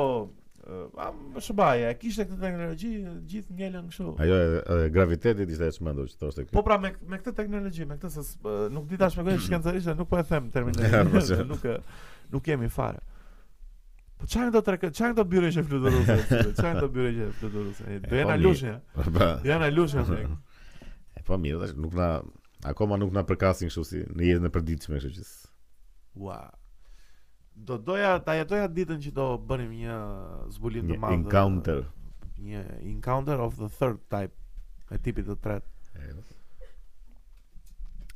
ë, am shbaja, e kishte këtë teknologji, gjithë ngelën kështu.
ajo e- e graviteti ishte e çmendur që thoshte
Po
ky.
pra me me këtë teknologji, me këtë se s- e, nuk di ta shpjegoj shkencërisht, dhe nuk po e them
Ja, po, se-
terminologjisht, nuk e- nuk kemi fare. Po çfarë do të çfarë do byre që flutur ruse? Çfarë do byre që flutur ruse? E, Do
E, po,
jena
mi-
lushnja.
Po.
Do jena lushnja. se.
E, Po mirë, tash nuk na akoma nuk na përkasin kështu si në jetën e përditshme, kështu që s-
Ua. Do doja ta jetoja ditën që do bënim një zbulim
një
të madh.
encounter.
Një encounter of the third type. E tipit të tretë.
E, jo.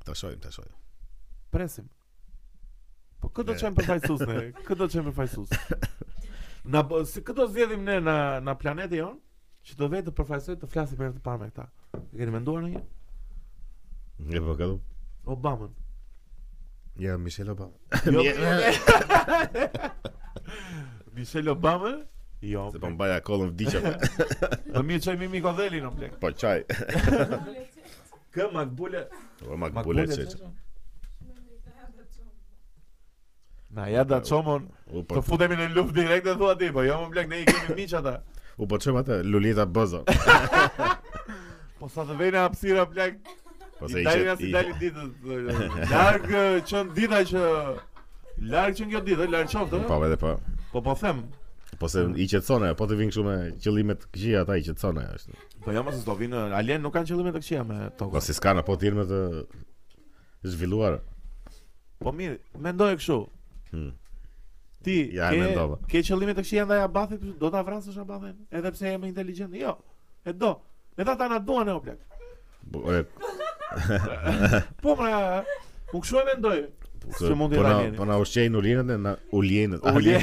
Ta shohim, ta shohim.
Presim. Po këtë do
Ne.
të çojmë përfaqësues ne, këtë do të çojmë përfaqësues. Na bë- si këtë do zgjedhim ne na na planetin jon, që do vetë të përfaqësoj të flasim për herë të parë me këta. E keni menduar ndonjë?
E po ka du?
Obamën.
Ja, Michelle Obama.
Jo. Michelle Obama? Jo.
Se po mbaja kollën vdiqja. po.
Do mirë çojmë Mimi Kodhelin në plek.
Po çaj.
Kë Makbule.
Po makbule çe.
çe. Na ja da çomon,
U po
të futemi në luftë direkt e thua ti, po jo më plek, ne i kemi miq ata.
u po çojmë atë Lulita Bozo.
Po sa të vjen hapësira plek,
Po se
I dalin as i
ishte.
dalin ditët. dhe- Larg eh, qën dita që larg qën kjo ditë, larg qoftë.
Po
ë?
vetë po.
Po po them.
Po se i qetësone, po të vinë kështu me qëllime të këqija ata i qetësone është.
Po jam se do vinë alien nuk kanë qëllime të këqija me
Po
tokën.
si s'kan apo të jenë me të zhvilluar.
Po mirë, mendoj kështu.
Hmm.
Ti
Ja, e mendova.
ke, ke qëllime të këqija ndaj Abathit, do ta vrasësh Abathin, edhe pse je më inteligjent. Jo, e do. Edhe ata na duan e o plak.
Po e
Po pra, u kshu e mendoj.
po
Se mund të
po na
alieni.
po na ushqejnë ulinët e na ulinët.
Ulje.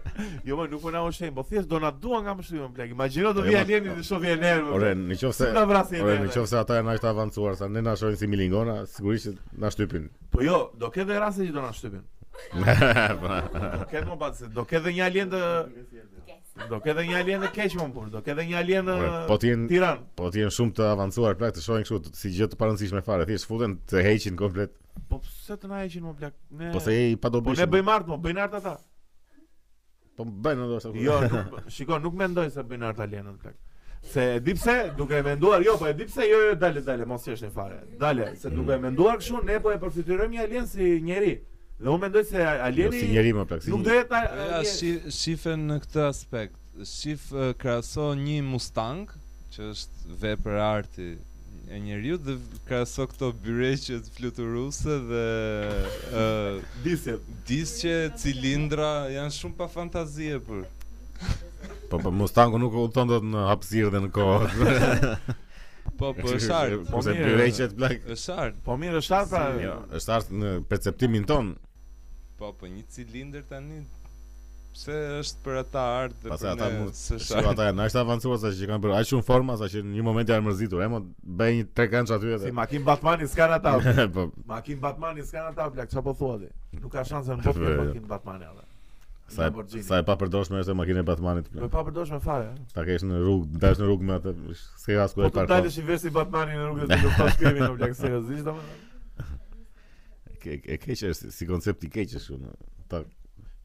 Jo, më nuk po na ushqejn, po thjesht do na duan nga mëshirë, më plak. Imagjino do
Po,
vi
jo, ma-
alieni të shohë enervë.
Ore, në qoftë se
Na vrasin.
Ore,
ne,
në
ne.
qoftë se ata janë aq të avancuar sa ne na shohin si milingona, sigurisht që na shtypin.
Po jo, do ketë dhe raste që do na shtypin.
Po.
Do ketë më pas, do ketë dhe një alien të Do ketë dhe një alien të keq më pur, do ketë dhe një alien të
Ore, po të jenë
Tiran.
po të jenë shumë të avancuar plak të shohin kështu t- si gjë të parëndësishme fare, thjesht futen të heqin komplet.
Po pse të na heqin më plak? Ne
Po se je i
Po ne
padobishëm.
bëjmë art, më bëjnë art ata.
Po bëjnë ndoshta. kur-
Jo, nuk, bë- shiko, nuk mendoj se bëjnë art alienët plak. Se e di pse, duke e menduar, jo, po e di pse, jo, jo, dale, dale, mos qeshni fare. Dale,
Mm.
se duke e menduar kështu, ne po e përfityrojmë një alien si njeri. Dhe unë mendoj se
Jo,
alieni
si njeri më plak. Si
nuk do jetë a-
Ja,
alien.
shi- shifen në këtë aspekt. Shif eh, krahaso një Mustang, që është vepër arti e njeriu dhe krahaso këto byreqet fluturuse dhe ë
Disjet.
disqe, cilindra janë shumë pa fantazie për.
Po po Mustangu nuk u thon dot në hapësirë dhe në kohë.
Po, po është art.
Po se
mirë.
byreqet plak.
Është art.
Po mirë, është art pra.
Jo, është art në perceptimin ton.
Po, po një cilindër tani pse është për ata art dhe
Pastaj
për
ata
ne
mund
s'është
Shiko
art.
ata janë aq të avancuar sa që kanë bërë aq shumë forma sa që në një moment janë mërzitur. Emo bëj një tre këngë aty
Si
edhe.
makim Batmani s'ka ata. o plak.
Po
Makim Batmani s'ka ata o plak, çfarë po thua ti? Nuk ka shanse në botë me makim Batmani ata.
sa e-
Lamborghini.
sa e papërdorshme është e makina e Batmanit.
Po
plak.
pa përdorshme fare.
Ta kesh në rrugë, dash në rrugë me atë, s'ke as ku
Po
e
të
parkon.
dalësh i vesh si Batmani në rrugën e luftos krimin o plak seriozisht domethënë.
Ke- E keq është si- si koncept i keq është unë. Ta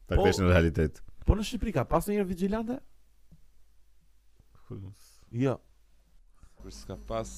ta
Po-
kesh në realitet.
Po në Shqipëri ka pas ndonjë vigjilante? Jo.
Kur s'ka pas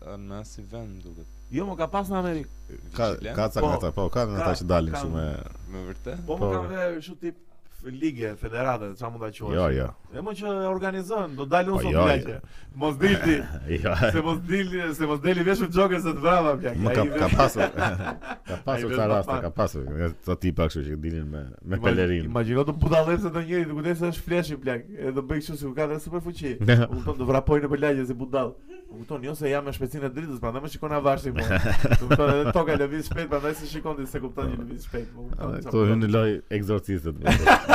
në asnjë vend më duket.
Jo, më ka pas në Amerikë.
Ka
Vigilant?
ka ca
Po,
nga ta, po, ka nga
ka-
ta që dalin
ka-
kështu me
Me vërtet?
Po më
Po.
ka dhe kështu tip ligë federate, çfarë mund ta
Jo,
quash.
jo.
E më që organizon, do dalë unë
Po,
sot
jo,
plaqe. Mos dilti,
Jo.
se mos dili, se mos deli vesh me Joker se të vrava plaq.
Më
Ai
ka
vesh-
ka pasur. Ka pasur
Ai
ca
vetëm
raste,
pa-
ka pasur. nga Ca tipa kështu që dilin me me
Ima-
pelerin.
Imagjino të budallëse të njëri, të kujtoj se është fleshi plak, edhe bëj kështu sikur ka dhe super fuqi.
Ne.
U kupton të vrapoj në pelagje si budall. U kupton, jo se jam me shpejtësinë e dritës, prandaj më shikon avashi mua. U kupton, edhe toka lëviz shpejt, prandaj se shikon ti se kupton një lëviz shpejt. po, U kupton,
Edhe
çfarë
Këto
kupton.
hyn në loj egzorcistët.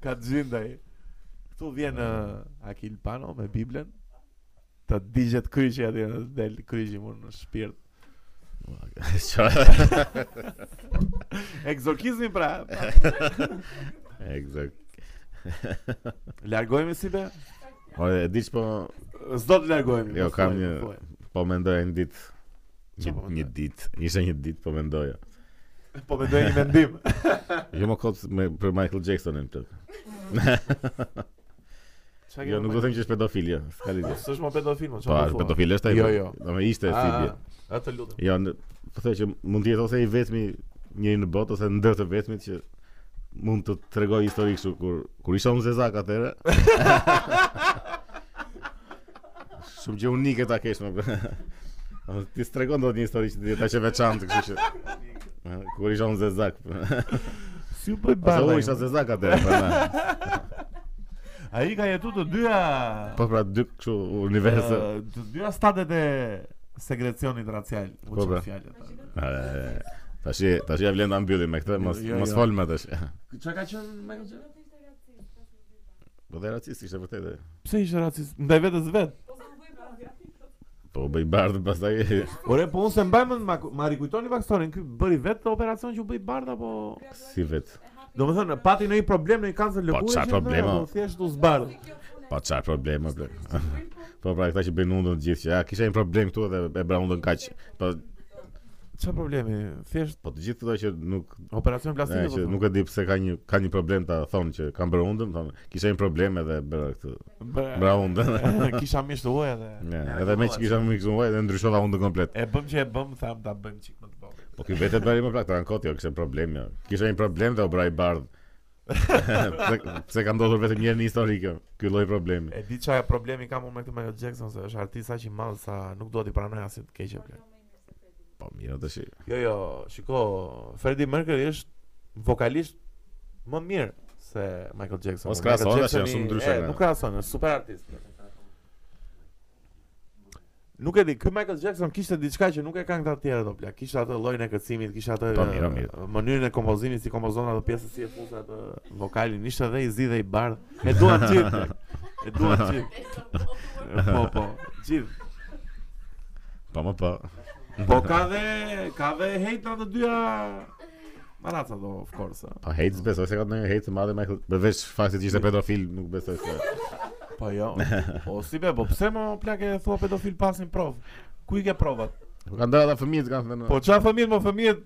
Ka gjindaj Këtu vjen
Ah.
uh, Akil Pano me Biblën Të digjet kryqi atje Në del kryqi mund në shpirt
Çfarë?
Egzorkizmi pra pa.
Egzakt.
Largojme si be
O e di që po
Zdo të largojme
Jo,
mos
kam
thuaj,
një-
mos thuaj.
po mendoja një ditë. Një,
Çfarë po
një
mendoje?
ditë, ishte një ditë po mendoja.
Po me një mendim
Jo më kot me për Michael Jacksonin plot.
Qa
Jo, nuk do të them që është pedofil, jo. S'ka lidhje.
Së është më pedofil më
Po,
qa
është pedofil është ai.
Jo,
po.
jo.
Do me ishte si bie.
Atë lutem
Jo, në, po thoj që mund të jetë ose i vetmi njëri në botë ose ndër të vetmit që mund të tregoj histori kështu kur kur isha unë zezak atëherë. Shumë gjë unike ta kesh më. Ose ti stregon dot një histori që ti ta që veçantë, kështu që kur isha unë zezak.
Si u bëj
Ose
barra
unë isha zezak atëherë, po na.
A i ka jetu të dyja
Po pra dy kështu
ë,
universe.
Të dyja statet e Segrecionit racial U
Po, pra.
që fjallet
E, Tash tash ja vlen ta mbyllim me këtë, mos
Jo, jo.
mos fol më tash.
Qa ka qënë Michael Jackson?
Po dhe racist ishte vërtet. e.
Pse ishte racist? Ndaj vetes vet.
Po u bëj bardh pastaj.
Ore, po unë se mbaj mend, ma, ma rikujtoni pak storin, ky bëri vetë operacion që u bëi bardh apo
Si vet.
Domethënë pati ndonjë problem në kancer lëkurë.
çfarë problema?
Po thjesht u zbardh.
Pa çfarë probleme ble. po pra këta që bëjnë undën të gjithë që ja kisha një problem këtu edhe e bëra undën kaq. Po
Çfarë problemi? Thjesht
po të gjithë këto që nuk
operacion
e,
plastik.
që nuk e di pse ka një ka një problem ta thonë që kanë bërë undën, thonë kisha një problem edhe e bëra këtë. Bëra undën.
kisha mish të huaj edhe.
Ja, edhe me që kisha më këtu uaj dhe ndryshova undën komplet.
E bëm që e bëm, tham ta bëjmë çik më të vogël.
Po ky vetë e bëri më plak, kanë kot jo, kishte problem jo. Kisha një problem dhe u bëra i bardh. pse, pse ka ndodhur vetëm një herë në histori kjo, ky lloj problemi.
E di çfarë problemi kam unë me këtë Michael Jackson se është artist aq i madh sa nuk dua ti pranoj asnjë të keqe. bler.
Po mirë tash.
Jo, jo, shiko, Freddie Mercury është vokalisht më mirë se Michael Jackson.
Mos
Michael
krahasohen,
Jacksoni-
tash janë shumë ndryshe
E,
nga-
nuk krahason, është super artist. Nuk e di, ky Michael Jackson kishte diçka që nuk e kanë këta të tjerë do plak. Kishte atë llojin e kërcimit, kishte atë
Po, mirë,
e,
mirë.
mënyrën e kompozimit si kompozon atë pjesën si e fus atë vokalin, ishte edhe i zi dhe i bardh. E duan gjithë. plak. E duan gjithë. Po, po, gjithë.
Po më po.
Po ka dhe ka dhe hate nga të dyja Malaca do, of course. a.
Po hate besoj se ka të ndonjë hate të madhe Michael, përveç faktit që ishte pedofil, nuk besoj se.
Po jo. O si be, po pse më plakë e thua pedofil pasin prov? Ku i ke provat?
Po kanë dalë ata fëmijët kanë thënë.
Po qa fëmijët, më fëmijët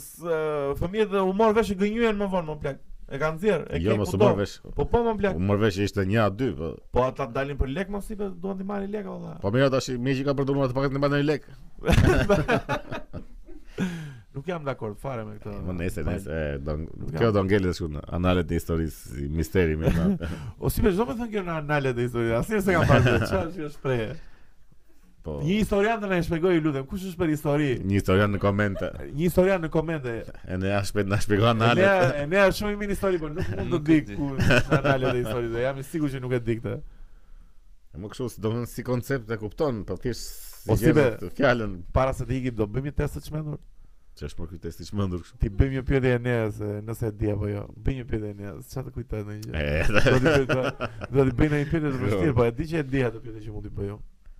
s- ë, fëmijët dhe u morë vesh e gënjyen më vonë më plak. E kanë nxjerr, e
jo,
ke
mos u
kudo.
mor vesh.
Po po më plak.
U mor vesh që ishte 1 2, po.
Po ata dalin për lek mos si be, duan t'i marrin lek valla.
Po mirë tash mirë që ka përdorur të paketën e marrë lek.
Nuk jam dakord fare me këtë.
Po nesër, nesër, e, do
Nuk
kjo
jam.
do ngelet kështu në analet e historisë, si misteri më madh.
O si be, çdo më thënë kjo në analet e historisë. Asnjë se kam parë. Çfarë është kjo shprehje?
Po.
Një historian të na e shpjegoj ju lutem, kush është për histori?
Një historian në komente.
Një historian në komente.
E ne as shpejt na shpjegon analet.
Enea, enea është shumë i mini histori, por nuk mund të
Nuk e
di
di.
ku është anale dhe histori, dhe jam i sigurt që nuk e di këtë.
Më kështu si domthon si koncept e kupton, po thjesht
O, si
gjen
be.
atë fjalën
Para se të ikim do bëjmë një test të çmendur.
që është për ky test i çmendur kështu.
Ti bëjmë një pyetje Eneas, e, nëse e di apo jo. Bëj një pyetje Eneas, çfarë të kujtohet në gjë.
E, Jo.
Do të bëj do të bëj një pyetje të vështirë, po e di që e di atë pyetje që mund t'i bëj unë.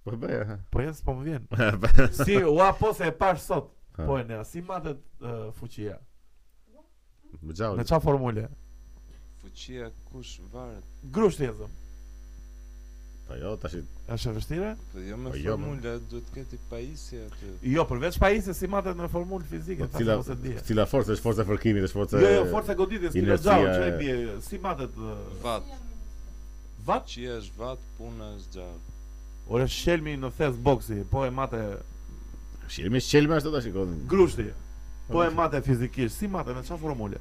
po bëj.
Po jes po më vjen.
ha.
Si ua po se e pash sot.
Ha.
Po Eneas, si matet ë, fuqia?
Më gjau.
Në çfarë formule?
Fuqia kush varet?
Grushti e zëm.
Po jo, tash i-
Është e vështirë?
Po jo me
Po jo, mo.
formula duhet të ketë pajisje aty.
Jo, përveç pajisjes si matet në formulë fizike,
Po,
thashë
cila-
mos e di.
Cila forcë është forca e fërkimit, është forca
Jo, jo, forca e goditjes, kilo
inercia
xhau, çfarë
e-
bie? Si matet? ë,
Vat.
Vat?
Fuqia është vat, puna është gjallë.
Ore shelmi në thes boksi, po e mate
Shirmi shqelme ashtu ta shikon.
grushti. Po e mate fizikisht, si mate me çfarë formule?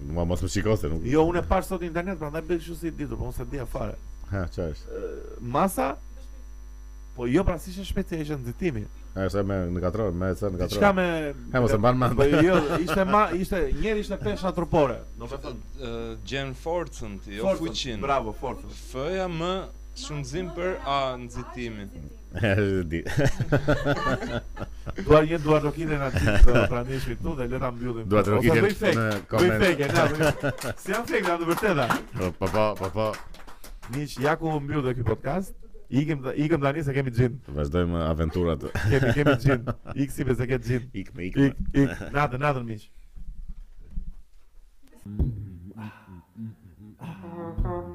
Ma mos më shikoste, nuk.
Jo, unë e pash sot në internet, prandaj bëj kështu si e ditur, po unë s'e dia fare.
Ha, çfarë është?
Ë, Masa Po jo pra si ishte shpejt e ishte nxitimi.
Ha, është me në katror, me sa në
Diçka
katror.
me
pra. Ha, mos e mban mend.
Po jo, ishte ma ishte njëri ishte pesha trupore. Do të thonë
Ë, Gjen forcën ti, jo
forcën,
fuqin.
Bravo, forcën.
F-ja më shumëzim për A nxitimin.
Është di.
Duar një duar do kiten aty të pranishmit pra, tu dhe le ta mbyllim.
Dua të rokiten
Ose bëj fake.
në
Bëj
koment.
fake, na. bëj- Si jam fake, na të vërteta.
Po po, po po.
Miq, ja ku mbyll dhe ky podcast. Ikim dhe ikëm tani se kemi xhin.
Vazhdojmë aventurat.
Kemi kemi xhin. Ik si pse ke xhin.
Ik me ik. me.
Ik ik natën natën miq.
Mm-hmm.